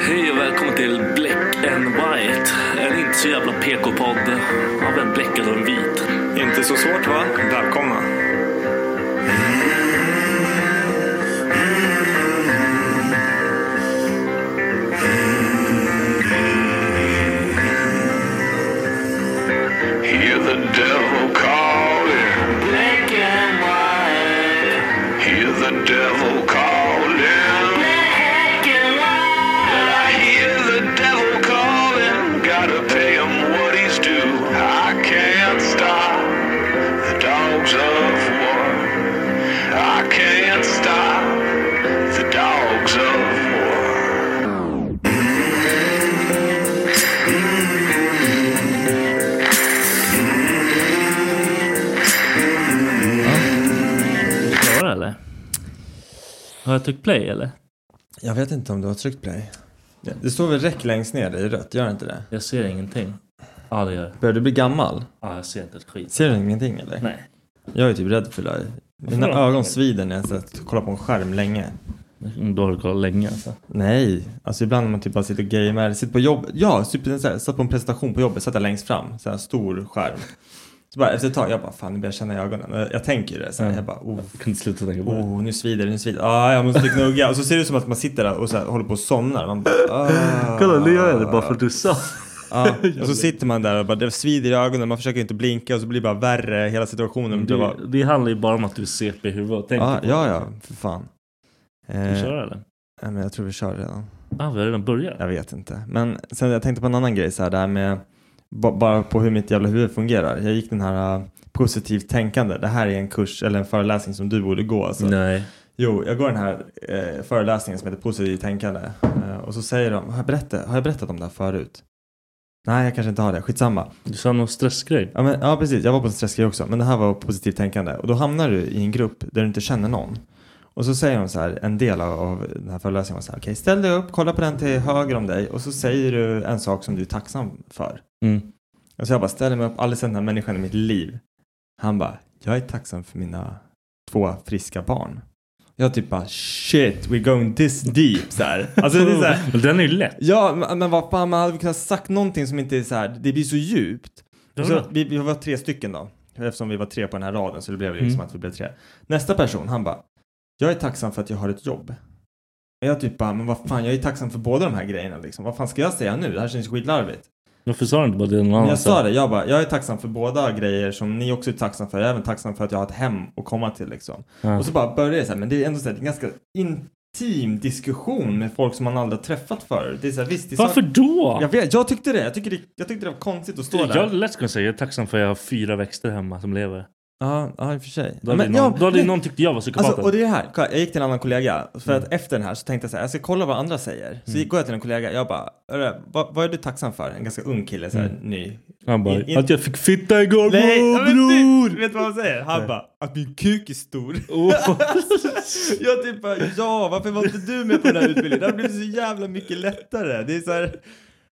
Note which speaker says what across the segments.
Speaker 1: Hej och välkommen till Black and White. En inte så jävla PK-podd av en bläckad och en vit.
Speaker 2: Inte så svårt va? Välkomna.
Speaker 3: Hear the devil calling. Black and white. Hear the devil calling. Black and white. I hear the devil calling. Gotta pay him what he's due. I can't stop the dogs of war. I can't stop the dogs of war.
Speaker 1: Klara eller? Har jag tryckt play eller?
Speaker 2: Jag vet inte om du har tryckt play. Det står väl räck längst ner i rött, gör det inte det?
Speaker 1: Jag ser ingenting. Ja, det gör jag.
Speaker 2: Börjar du bli gammal?
Speaker 1: Ja, jag ser inte ett skit.
Speaker 2: Ser du ingenting eller?
Speaker 1: Nej.
Speaker 2: Jag är typ rädd för dig. Mina
Speaker 1: Varför då?
Speaker 2: ögon svider när jag satt- kollar på en skärm länge.
Speaker 1: Då har du kollat länge alltså.
Speaker 2: Nej, alltså ibland när man typ bara sitter och gamer, sitter på jobbet. Ja, typ så här, satt på en presentation på jobbet, satt jag längst fram, så här stor skärm. Så bara efter ett tag, jag bara fan nu börjar jag känna i ögonen. Jag- Jag tänker ju det, så
Speaker 1: Mm.
Speaker 2: här, jag bara oh,
Speaker 1: Jag kunde inte sluta tänka på det.
Speaker 2: oh nu svider det, nu svider det. Ah, jag måste knugga. Och så ser det ut som att man sitter där och så här, håller på och somnar. Man bara, ah.
Speaker 1: Kolla, nu gör jag det bara för att du sa.
Speaker 2: Ja, och så sitter man där och bara, det svider i ögonen, man försöker inte blinka och så blir det bara värre hela situationen. blir bara,
Speaker 1: Det, det handlar ju bara om att du är CP i huvudet och tänker
Speaker 2: ah,
Speaker 1: på
Speaker 2: ja, ja, för fan.
Speaker 1: det. Ska
Speaker 2: Eh,
Speaker 1: vi köra eller?
Speaker 2: nej, men jag tror vi kör redan.
Speaker 1: Ah, vi har redan börjat.
Speaker 2: Jag vet inte. Men sen jag tänkte på en annan grej så här, det här med ba- bara på hur mitt jävla huvud fungerar. Jag gick den här uh, positivt tänkande. Det här är en kurs eller en föreläsning som du borde gå. Alltså.
Speaker 1: Nej.
Speaker 2: Jo, jag går den här eh, föreläsningen som heter positivt tänkande. Eh, och så säger de, har jag, berättat, har jag berättat om det här förut? Nej, jag kanske inte har det. Skitsamma.
Speaker 1: Du sa någon stressgrej.
Speaker 2: Ja, men, ja precis, jag var på en stressgrej också. Men det här var positivt tänkande. Och då hamnar du i en grupp där du inte känner någon. Och så säger de så här, en del av- av den här föreläsningen var så här, okej ställ dig upp, kolla på den till höger om dig och så säger du en sak som du är tacksam för.
Speaker 1: Mm.
Speaker 2: Och så jag bara ställer mig upp, aldrig sett den här människan i mitt liv. Han bara, jag är tacksam för mina två friska barn. Jag typ bara, shit, we're going this deep så här. Alltså det är så här,
Speaker 1: Den är ju lätt.
Speaker 2: ja men- men vad fan, man hade kunnat sagt någonting som inte är så här, det blir så djupt. Och Så, vi, vi var tre stycken då. Eftersom vi var tre på den här raden så det blev liksom
Speaker 1: Mm.
Speaker 2: att vi blev tre. Nästa person, han bara. Jag är tacksam för att jag har ett jobb. Och jag typ bara, men vad fan, jag är tacksam för båda de här grejerna liksom. Vad fan ska jag säga nu? Det här känns skitlarvigt.
Speaker 1: Varför sa du inte bara det någon
Speaker 2: Men
Speaker 1: annan
Speaker 4: alltså.
Speaker 2: jag sa det, jag bara, jag är tacksam för båda grejer som ni också är tacksam för. Jag är även tacksam för att jag har ett hem att komma till liksom.
Speaker 1: Ja.
Speaker 2: Och så bara började det så här, men det är ändå så här, det är ganska in, teamdiskussion med folk som man aldrig har träffat förut. Det är så här, visst, det är
Speaker 4: Varför
Speaker 2: sant-
Speaker 4: då?
Speaker 2: Jag vet, jag tyckte det. Jag, tycker det. jag tyckte det var konstigt att stå
Speaker 4: Jag,
Speaker 2: där.
Speaker 4: lät kunna säga jag är tacksam för att jag har fyra växter hemma som lever.
Speaker 2: Ja, ja, i och för sig.
Speaker 4: Då hade,
Speaker 2: Men
Speaker 4: någon,
Speaker 2: jag-
Speaker 4: då hade någon Mm. tyckt jag var psykopaten.
Speaker 2: Alltså, och det är det här, Kolla, jag gick till en annan kollega för att efter den här så tänkte jag så här, jag ska kolla vad andra säger.
Speaker 4: Mm.
Speaker 2: Så gick går jag till en kollega, jag bara, "Hörru, vad, vad är du tacksam för? En ganska ung kille, så här, ny.
Speaker 4: Han bara,
Speaker 2: In- in-
Speaker 4: att jag fick fitta igår
Speaker 2: Nej,
Speaker 4: Mm. bror!
Speaker 2: men du, vet du vad han säger? Han bara, att min kuk är stor.
Speaker 4: Åh.
Speaker 2: jag typ bara, ja, varför var inte du med på den här utbildningen? Det hade blivit så jävla mycket lättare. Det är så här,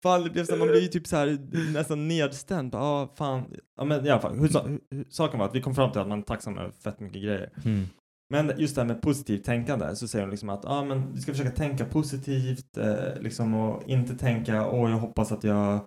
Speaker 2: fan, det blev så här, man blir ju typ så här nästan nedstämd. Bara, ah, fan. Ja, men i alla fall, hur, sa- hur, hur, saken var att vi kom fram till att man är tacksam över fett mycket grejer.
Speaker 4: Mm.
Speaker 2: Men just det här med positivt tänkande så säger hon liksom att ah, men du ska försöka tänka positivt eh, liksom, och inte tänka åh jag hoppas att jag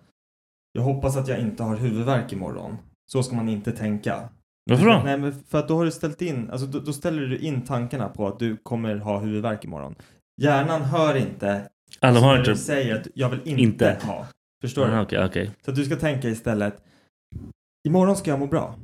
Speaker 2: jag hoppas att jag inte har huvudvärk imorgon. Så ska man inte tänka.
Speaker 4: Varför då?
Speaker 2: Nej, men för att då har du ställt in, alltså då, då ställer du in tankarna på att du kommer ha huvudvärk imorgon. Hjärnan hör inte
Speaker 4: Alla har inte...
Speaker 2: du säger att jag vill inte,
Speaker 4: Inte.
Speaker 2: ha. Förstår du?
Speaker 4: Ah, Okej, okej.
Speaker 2: Så att du ska tänka istället, imorgon ska jag må bra.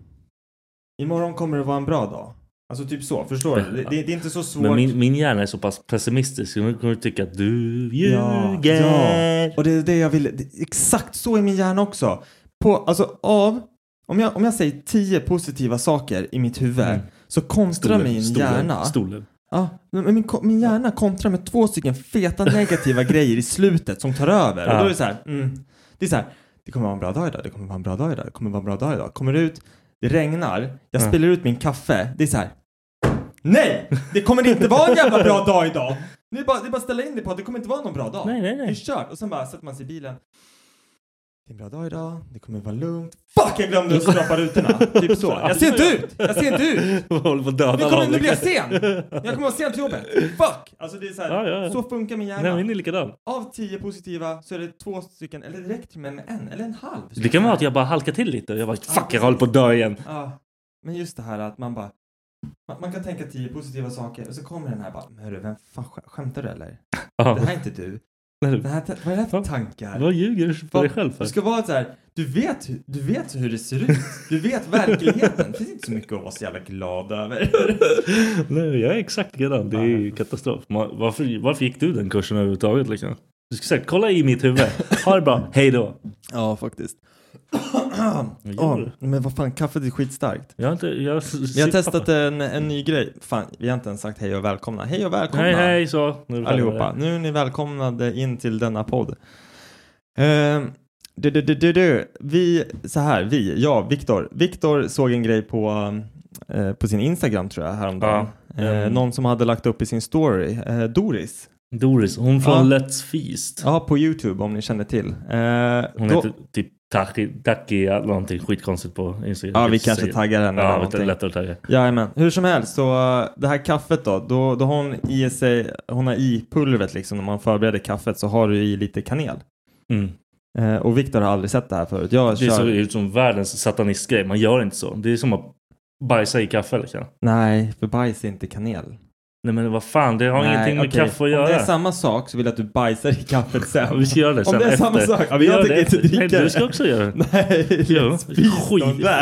Speaker 2: Imorgon kommer det vara en bra dag. Alltså typ så, förstår du? Det, det, det är inte så svårt.
Speaker 4: Men min, min hjärna är så pass pessimistisk. Nu kommer du tycka att du
Speaker 2: Ja,
Speaker 4: ljuger.
Speaker 2: ja. Och det är det jag ville. det- Exakt så i min hjärna också. På, alltså av, om jag, om jag säger tio positiva saker i mitt huvud
Speaker 4: Mm.
Speaker 2: så konstrar min
Speaker 4: stolen,
Speaker 2: hjärna.
Speaker 4: Stolen.
Speaker 2: Ja, men min, ko- min hjärna kontrar med två stycken feta negativa grejer i slutet som tar över. Och
Speaker 4: Ja.
Speaker 2: då är det så här, mm, det är så här, det kommer vara en bra dag idag, det kommer vara en bra dag idag, det kommer vara en bra dag idag. Kommer ut, det regnar, jag
Speaker 4: Ja.
Speaker 2: spiller ut min kaffe, det är så här, nej! Det kommer inte vara en jävla bra dag idag! Det är bara, det är bara att ställa in det på att det kommer inte vara någon bra dag.
Speaker 4: Nej, nej,
Speaker 2: Det är
Speaker 4: nej.
Speaker 2: kört. Och sen bara sätter man sig i bilen. Det är en bra dag idag, det kommer vara lugnt. Fuck, jag glömde att skrapa rutorna! typ så. Jag ser inte ut! Jag ser inte ut!
Speaker 4: Jag håller på att döda
Speaker 2: Nu, kommer,
Speaker 4: någon.
Speaker 2: nu blir jag sen! Jag kommer vara sen till jobbet! Fuck! Alltså det är så, här,
Speaker 4: Ja, ja, ja.
Speaker 2: så funkar min hjärna.
Speaker 4: Nej, min är likadan.
Speaker 2: Av tio positiva så är det två stycken, eller det räcker med en, eller en halv.
Speaker 4: Det kan vara att jag bara halkar till lite och jag bara fuck jag håller på att dö igen.
Speaker 2: Ja. Men just det här att man bara... Man, man kan tänka tio positiva saker och så kommer den här bara, men hörru, vem fan sk- skämtar du eller?
Speaker 4: Ja.
Speaker 2: Det här är inte du. Det här, vad är det här för tankar?
Speaker 4: Vad ljuger du för dig själv för?
Speaker 2: Du ska vara så här, du vet, hur- du vet hur det ser ut. Du vet verkligheten. Det finns inte så mycket att vara så jävla glad över.
Speaker 4: Nej, jag är exakt likadan. Det är ju katastrof. Man, varför, varför gick du den kursen överhuvudtaget liksom? Du ska säga kolla i mitt huvud. Ha det bra. Hej då.
Speaker 2: Ja, faktiskt.
Speaker 4: gör du?
Speaker 2: men vad fan, kaffet är skitstarkt.
Speaker 4: Jag har inte... Jag,
Speaker 2: Vi har testat en, en ny grej. Fan, vi har inte ens sagt hej och välkomna. Hej och välkomna
Speaker 4: Hej hej så. Nu är vi
Speaker 2: allihopa.
Speaker 4: klara.
Speaker 2: Nu är ni välkomnade in till denna podd. Ehm, du, du, du, du, du. Vi, så här, vi, jag, Viktor. Viktor såg en grej på, eh, på sin Instagram tror jag häromdagen.
Speaker 4: Ja.
Speaker 2: Eh,
Speaker 4: Mm.
Speaker 2: Någon som hade lagt upp i sin story, eh, Doris.
Speaker 4: Doris, hon från
Speaker 2: Ja.
Speaker 4: Let's Feast.
Speaker 2: Ja, på YouTube om ni känner till. Eh,
Speaker 4: Hon
Speaker 2: då-
Speaker 4: heter typ Taki, Taki någonting skitkonstigt på Instagram.
Speaker 2: Ja, vi
Speaker 4: Jag
Speaker 2: kanske
Speaker 4: säger-
Speaker 2: taggar henne eller
Speaker 4: Ja, vi
Speaker 2: någonting.
Speaker 4: lätt att tagga.
Speaker 2: Jajamän. Hur som helst, så eh, det här kaffet då, då, då har hon i sig, hon har i pulvret liksom när man förbereder kaffet så har du i lite kanel.
Speaker 4: Mm.
Speaker 2: Eh, och Viktor har aldrig sett det här förut. Jag
Speaker 4: Det
Speaker 2: kör...
Speaker 4: såg ut som världens satanistgrej. Man gör inte så. Det är som att bajsa i kaffe liksom.
Speaker 2: Nej, för bajs är inte kanel.
Speaker 4: Nej men vad fan, det har
Speaker 2: Nej,
Speaker 4: ingenting med
Speaker 2: okej.
Speaker 4: kaffe att göra.
Speaker 2: Om det är samma sak så vill jag att du bajsar i kaffet sen.
Speaker 4: Ja, vi ska göra det sen
Speaker 2: Om det är samma
Speaker 4: efter.
Speaker 2: sak. Ja, men
Speaker 4: Gör
Speaker 2: jag
Speaker 4: det
Speaker 2: tänker inte
Speaker 4: efter.
Speaker 2: dricka
Speaker 4: Nej,
Speaker 2: det.
Speaker 4: du ska också göra det.
Speaker 2: Nej,
Speaker 4: Jo.
Speaker 2: spis dem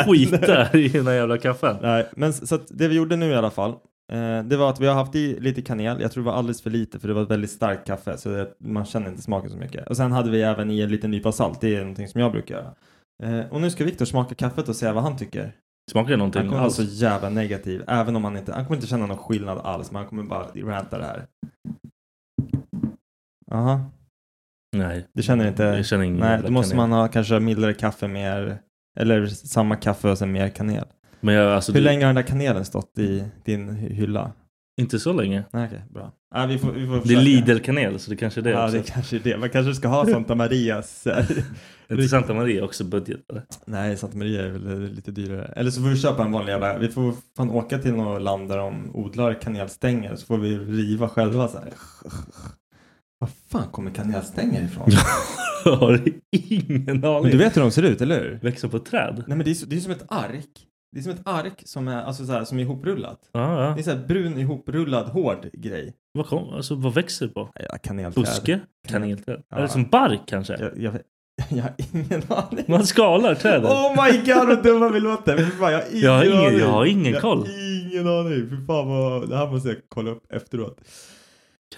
Speaker 4: Skit,
Speaker 2: där.
Speaker 4: skita i den här jävla kaffen.
Speaker 2: Nej, men så så att det vi gjorde nu i alla fall, eh, det var att vi har haft i lite kanel. Jag tror det var alldeles för lite för det var ett väldigt starkt kaffe så det, man känner inte smaken så mycket. Och sen hade vi även i en liten nypa salt. Det är någonting som jag brukar göra. Eh, och nu ska Viktor smaka kaffet och säga vad han tycker.
Speaker 4: Smakar det någonting? Alltså,
Speaker 2: Han kommer vara
Speaker 4: alls?
Speaker 2: så jävla negativ, även om han inte, han kommer inte känna någon skillnad alls, men han kommer bara ranta det här. Aha,
Speaker 4: Nej,
Speaker 2: det känner inte...
Speaker 4: jag känner ingen
Speaker 2: nej,
Speaker 4: jävla
Speaker 2: då måste
Speaker 4: kanel.
Speaker 2: man ha kanske mildare kaffe, mer, eller samma kaffe och sen mer kanel.
Speaker 4: Men jag, alltså,
Speaker 2: Hur
Speaker 4: det-
Speaker 2: länge har den där kanelen stått i din hy- hylla?
Speaker 4: Inte så länge.
Speaker 2: Nej, okej, bra. Nej, vi får, vi får
Speaker 4: Det
Speaker 2: försöka.
Speaker 4: är Lidl-kanel, så det kanske är det
Speaker 2: Ja,
Speaker 4: också.
Speaker 2: det kanske är det. Man kanske ska ha Santa Marias. eh,
Speaker 4: Inte Santa Maria också budget. eller?
Speaker 2: nej, Santa Maria är väl eh, lite dyrare. Eller så får vi köpa en vanlig jävla, vi får fan åka till något land där de odlar kanelstänger så får vi riva själva så här. Var fan kommer kanelstänger ifrån?
Speaker 4: Jag har ingen aning.
Speaker 2: Men du vet hur de ser ut, eller hur?
Speaker 4: Växer på ett träd?
Speaker 2: Nej men det är, så, det är som ett ark. Det är som ett ark som är, alltså så här, som är ihoprullat.
Speaker 4: Ja,
Speaker 2: Det är
Speaker 4: ja.
Speaker 2: så här brun ihoprullad hård grej.
Speaker 4: Vad, kom, alltså, vad växer det på?
Speaker 2: Ja, kanelträd.
Speaker 4: Buske? Kanelträd?
Speaker 2: Ja.
Speaker 4: Eller som bark kanske?
Speaker 2: Jag, jag, jag har ingen aning.
Speaker 4: Man skalar trädet.
Speaker 2: Oh my god vad dumma vi låter! Fy fan, jag har ingen
Speaker 4: Jag har ingen-
Speaker 2: aning.
Speaker 4: jag har ingen
Speaker 2: Jag
Speaker 4: koll.
Speaker 2: har ingen aning. Fy fan vad, det här måste jag kolla upp efteråt.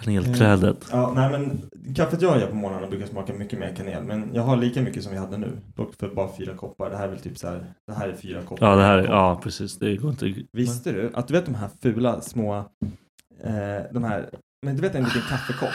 Speaker 4: Kanelträdet.
Speaker 2: Ja, nej men kaffet jag gör på morgnarna brukar smaka mycket mer kanel. Men jag har lika mycket som vi hade nu. Dock för bara fyra koppar. Det här är väl typ så här. Det här är fyra koppar.
Speaker 4: Ja, det här, ja precis. Det går inte.
Speaker 2: Visste du att du vet de här fula små, eh, de här, men du vet en liten kaffekopp?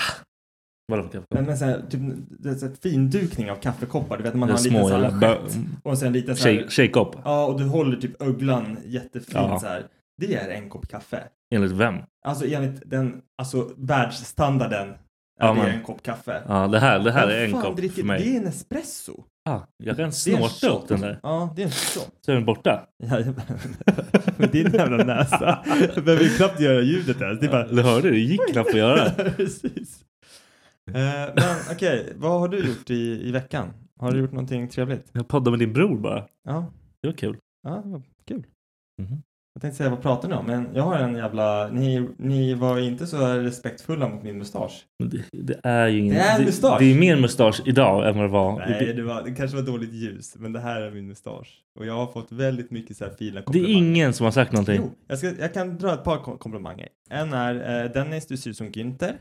Speaker 4: Vadå för kaffe?
Speaker 2: Men, men så här, typ, det är så här, findukning av kaffekoppar. Du vet när man
Speaker 4: Det är
Speaker 2: har en liten
Speaker 4: små
Speaker 2: så här
Speaker 4: jävla
Speaker 2: skett och sen en liten så här,
Speaker 4: Shake- Shake-up.
Speaker 2: ja och du håller typ öglan jättefint
Speaker 4: Ja.
Speaker 2: så här. Det är en kopp kaffe.
Speaker 4: Enligt vem?
Speaker 2: Alltså enligt den, alltså världsstandarden är
Speaker 4: Ja,
Speaker 2: det
Speaker 4: men-
Speaker 2: en kopp kaffe.
Speaker 4: Ja, det här, det här
Speaker 2: Vad
Speaker 4: är en
Speaker 2: fan
Speaker 4: kopp
Speaker 2: dricker-
Speaker 4: för mig.
Speaker 2: Det är en espresso.
Speaker 4: Ah, jag kan
Speaker 2: Det är en
Speaker 4: snorta
Speaker 2: shot.
Speaker 4: upp den där.
Speaker 2: Ja, det är en shot.
Speaker 4: Så är den borta.
Speaker 2: Jajamän. Med din jävla näsa. Jag behöver ju knappt göra ljudet ens. Alltså, Det är bara...
Speaker 4: Du hörde, det gick knappt att göra.
Speaker 2: Precis. Eh, men okej, vad har du gjort i, i veckan? Har du gjort någonting trevligt?
Speaker 4: Jag poddade med din bror bara.
Speaker 2: Ja,
Speaker 4: Det var kul.
Speaker 2: ja vad kul.
Speaker 4: Mhm.
Speaker 2: Jag tänkte säga vad pratar ni om? Men jag har en jävla... Ni, ni var inte så respektfulla mot min mustasch.
Speaker 4: Men Det, det är ju ingen...
Speaker 2: Det är en mustasch.
Speaker 4: Det, det är mer mustasch idag än vad det var.
Speaker 2: Nej,
Speaker 4: det,
Speaker 2: det, var, det kanske var dåligt ljus, men det här är min mustasch. Och jag har fått väldigt mycket så här fina
Speaker 4: det
Speaker 2: komplimanger.
Speaker 4: är ingen som har sagt någonting.
Speaker 2: Jo, jag, ska, jag kan dra ett par kom- komplimanger. En är eh, Dennis, du ser ut som Günther.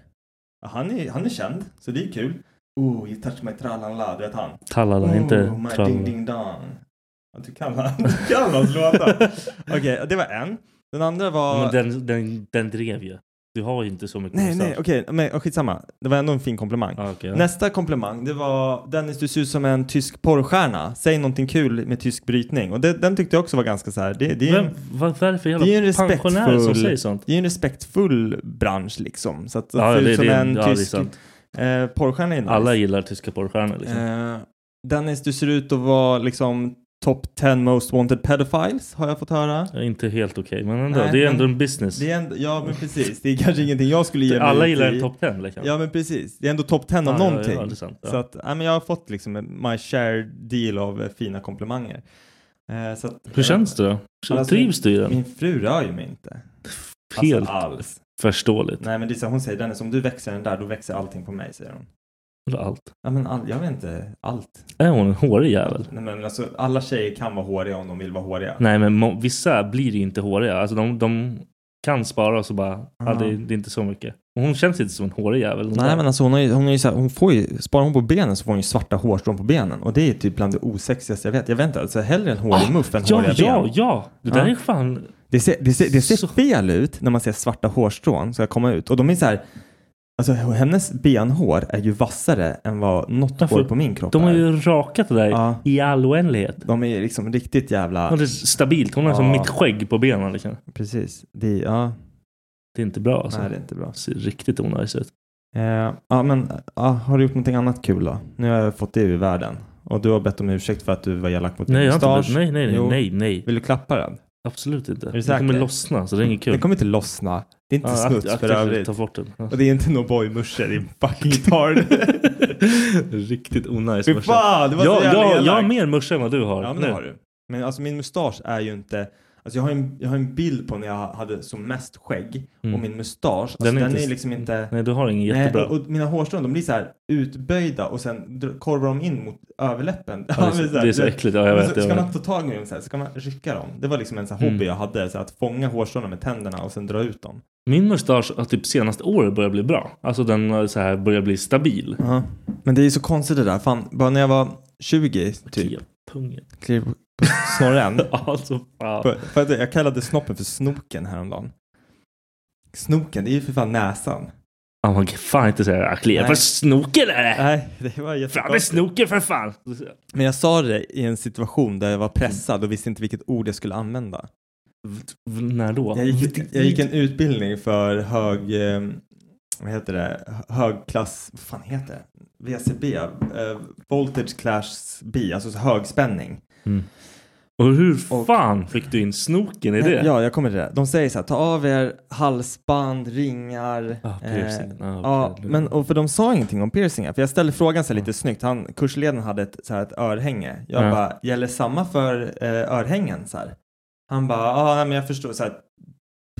Speaker 2: Ja, Han är, han är känd, så det är kul. Oh, you touch my tralala, du vet han.
Speaker 4: Tallala, inte
Speaker 2: oh, my ding
Speaker 4: trallala.
Speaker 2: ding dong. Ja, Du kan, han- du kan hans låtar. Okej, det var en. Den andra var...
Speaker 4: Men den, den, den drev ju. Du har ju inte så mycket
Speaker 2: Nej,
Speaker 4: mustasch.
Speaker 2: nej, okej, men ja, skitsamma. Det var ändå en fin komplimang.
Speaker 4: Ah, okej, ja.
Speaker 2: Nästa komplimang, det var Dennis, du ser ut som en tysk porrstjärna. Säg någonting kul med tysk brytning. Och det, den tyckte jag också var ganska så här. Det, det är en-
Speaker 4: Vem, vad, vad är det för jävla
Speaker 2: Det är ju en respektfull-
Speaker 4: pensionärer som säger sånt?
Speaker 2: Det är ju en respektfull bransch liksom. Så att
Speaker 4: Ja,
Speaker 2: se ut
Speaker 4: det,
Speaker 2: som
Speaker 4: det,
Speaker 2: en
Speaker 4: ja, det är
Speaker 2: tysk
Speaker 4: sant.
Speaker 2: eh, porrstjärna är nice.
Speaker 4: Alla gillar tyska porrstjärnor. Liksom.
Speaker 2: eh, Dennis, du ser ut att vara liksom top 10 most wanted pedophiles har jag fått höra.
Speaker 4: Ja, Inte helt okej, men ändå.
Speaker 2: Nej,
Speaker 4: det är ändå
Speaker 2: men-
Speaker 4: en business.
Speaker 2: Det är ändå, ja men precis, det är kanske ingenting jag skulle ge mig
Speaker 4: Alla
Speaker 2: ut
Speaker 4: gillar
Speaker 2: i.
Speaker 4: en topp 10 liksom.
Speaker 2: Ja men precis, det är ändå top 10 av
Speaker 4: Ja,
Speaker 2: någonting.
Speaker 4: Ja, ja, det är sant. Ja.
Speaker 2: Så att, ja, men jag har fått liksom en- my share deal av eh, fina komplimanger. Eh, så att,
Speaker 4: Hur känns det då?
Speaker 2: Alltså,
Speaker 4: Trivs du i den?
Speaker 2: Min fru rör ju mig inte.
Speaker 4: Helt
Speaker 2: Alltså, alls.
Speaker 4: förståligt.
Speaker 2: Nej men det är så, hon säger Dennis, om du växer den där då växer allting på mig säger hon.
Speaker 4: Eller Allt.
Speaker 2: Ja men all, jag vet inte, allt.
Speaker 4: Är hon en hårig jävel?
Speaker 2: Nej, men alltså, alla tjejer kan vara håriga om de vill vara håriga.
Speaker 4: Nej, men må- vissa blir ju inte håriga. Alltså de, de kan spara och så bara, ja,
Speaker 2: Ja.
Speaker 4: det, det är inte så mycket. Och hon känns inte som en hårig jävel. Hon bara,
Speaker 2: Nej men alltså hon, har ju, hon, är ju så här, hon får ju, sparar hon på benen så får hon ju svarta hårstrån på benen och det är typ bland det osexigaste jag vet. Jag vet inte, alltså hellre en hårig
Speaker 4: Ah,
Speaker 2: muff än
Speaker 4: Ja,
Speaker 2: håriga
Speaker 4: ja,
Speaker 2: ben.
Speaker 4: ja! Det där
Speaker 2: Ja.
Speaker 4: är fan...
Speaker 2: Det ser, det ser, det ser
Speaker 4: Så-
Speaker 2: fel ut när man ser svarta hårstrån ska komma ut och de är så här, alltså hennes benhår är ju vassare än vad något
Speaker 4: Därför-
Speaker 2: hår på min kropp
Speaker 4: De har
Speaker 2: är.
Speaker 4: ju rakat det där
Speaker 2: Ja.
Speaker 4: i all oändlighet.
Speaker 2: De är liksom riktigt jävla,
Speaker 4: Hon är stabilt. Hon har som
Speaker 2: Ja.
Speaker 4: mitt skägg på benen liksom.
Speaker 2: precis. Det, är- ja,
Speaker 4: Det är inte bra alltså.
Speaker 2: nej, det är inte bra.
Speaker 4: Det ser riktigt onajs ut.
Speaker 2: Eh, ja, men ja, har du gjort någonting annat kul då? Nu har jag fått det ur världen. Och du har bett om ursäkt för att du var elak mot
Speaker 4: Nej,
Speaker 2: min
Speaker 4: jag har inte
Speaker 2: mustasch.
Speaker 4: blivit, nej, nej,
Speaker 2: Jo.
Speaker 4: nej, nej, nej.
Speaker 2: Vill du klappa den?
Speaker 4: Absolut inte. Det
Speaker 2: säker?
Speaker 4: kommer lossna så det är inget kul.
Speaker 2: Den kommer inte lossna. Det är inte
Speaker 4: Ja,
Speaker 2: smuts
Speaker 4: akta- akta
Speaker 2: för
Speaker 4: att
Speaker 2: övrigt.
Speaker 4: Ta bort den. Ja.
Speaker 2: Och det är inte någon boymörsa, det är en fucking gitarr.
Speaker 4: Riktigt onajs
Speaker 2: Fy
Speaker 4: morsa.
Speaker 2: fan, det var
Speaker 4: Jag,
Speaker 2: så jävla
Speaker 4: jag,
Speaker 2: elakt.
Speaker 4: jag har mer morsa än vad du har.
Speaker 2: Ja, men
Speaker 4: nu.
Speaker 2: det har du. Men alltså min mustasch är ju inte... Alltså jag har en, jag har en bild på när jag hade som mest skägg. Och
Speaker 4: Mm.
Speaker 2: min mustasch, alltså
Speaker 4: Den
Speaker 2: den,
Speaker 4: är
Speaker 2: är,
Speaker 4: inte-
Speaker 2: liksom inte...
Speaker 4: Nej, du har ingen jättebra.
Speaker 2: och, och mina hårstrån de blir så här utböjda och sen dr- korvar de in mot överläppen.
Speaker 4: Ja, det,
Speaker 2: men
Speaker 4: är
Speaker 2: så
Speaker 4: så, Alltså,
Speaker 2: här,
Speaker 4: det är så
Speaker 2: du-
Speaker 4: äckligt. Ja, jag
Speaker 2: Men
Speaker 4: vet.
Speaker 2: så
Speaker 4: Jag
Speaker 2: ska
Speaker 4: vet.
Speaker 2: man ta tag i dem så här, så ska man rycka dem. Det var liksom en så här hobby
Speaker 4: Mm.
Speaker 2: jag hade, så här, att fånga hårstråna med tänderna och sen dra ut dem.
Speaker 4: Min mustasch har typ senaste året börjat bli bra. Alltså den har så här börjar bli stabil.
Speaker 2: Men det är så konstigt det där. Fan, bara när jag var 20
Speaker 4: Typ. Pungen.
Speaker 2: klev på snorren.
Speaker 4: Alltså fan.
Speaker 2: För- för att jag kallade snoppen för snoken häromdagen. Snoken, det är ju för fan näsan.
Speaker 4: Äh. Ja, man kan fan inte säga det. här. Klia för
Speaker 2: Nej.
Speaker 4: snoken är det.
Speaker 2: Nej, det var
Speaker 4: Fram med
Speaker 2: jättekonstigt.
Speaker 4: snoken för fan.
Speaker 2: Men jag sa det i en situation där jag var pressad och visste inte vilket ord jag skulle använda.
Speaker 4: V- v- När då?
Speaker 2: Jag gick, jag gick en utbildning för hög, eh, vad heter det, Hö- högklass, vad fan heter det? VCB, eh, Voltage Class B, alltså högspänning.
Speaker 4: Och hur
Speaker 2: Och-
Speaker 4: fan fick du in snoken i det?
Speaker 2: Ja, jag kommer till det. De säger så här, ta av er halsband, ringar.
Speaker 4: Ah, piercing.
Speaker 2: eh,
Speaker 4: Ah,
Speaker 2: ja,
Speaker 4: okej.
Speaker 2: men och för de sa ingenting om piercingar. För jag ställde frågan så här lite snyggt. Han, kursledaren hade ett, så här, ett örhänge. Jag
Speaker 4: Ja.
Speaker 2: bara, gäller samma för eh, örhängen? Så här. Han bara, ja, nej, men jag förstår. Så här,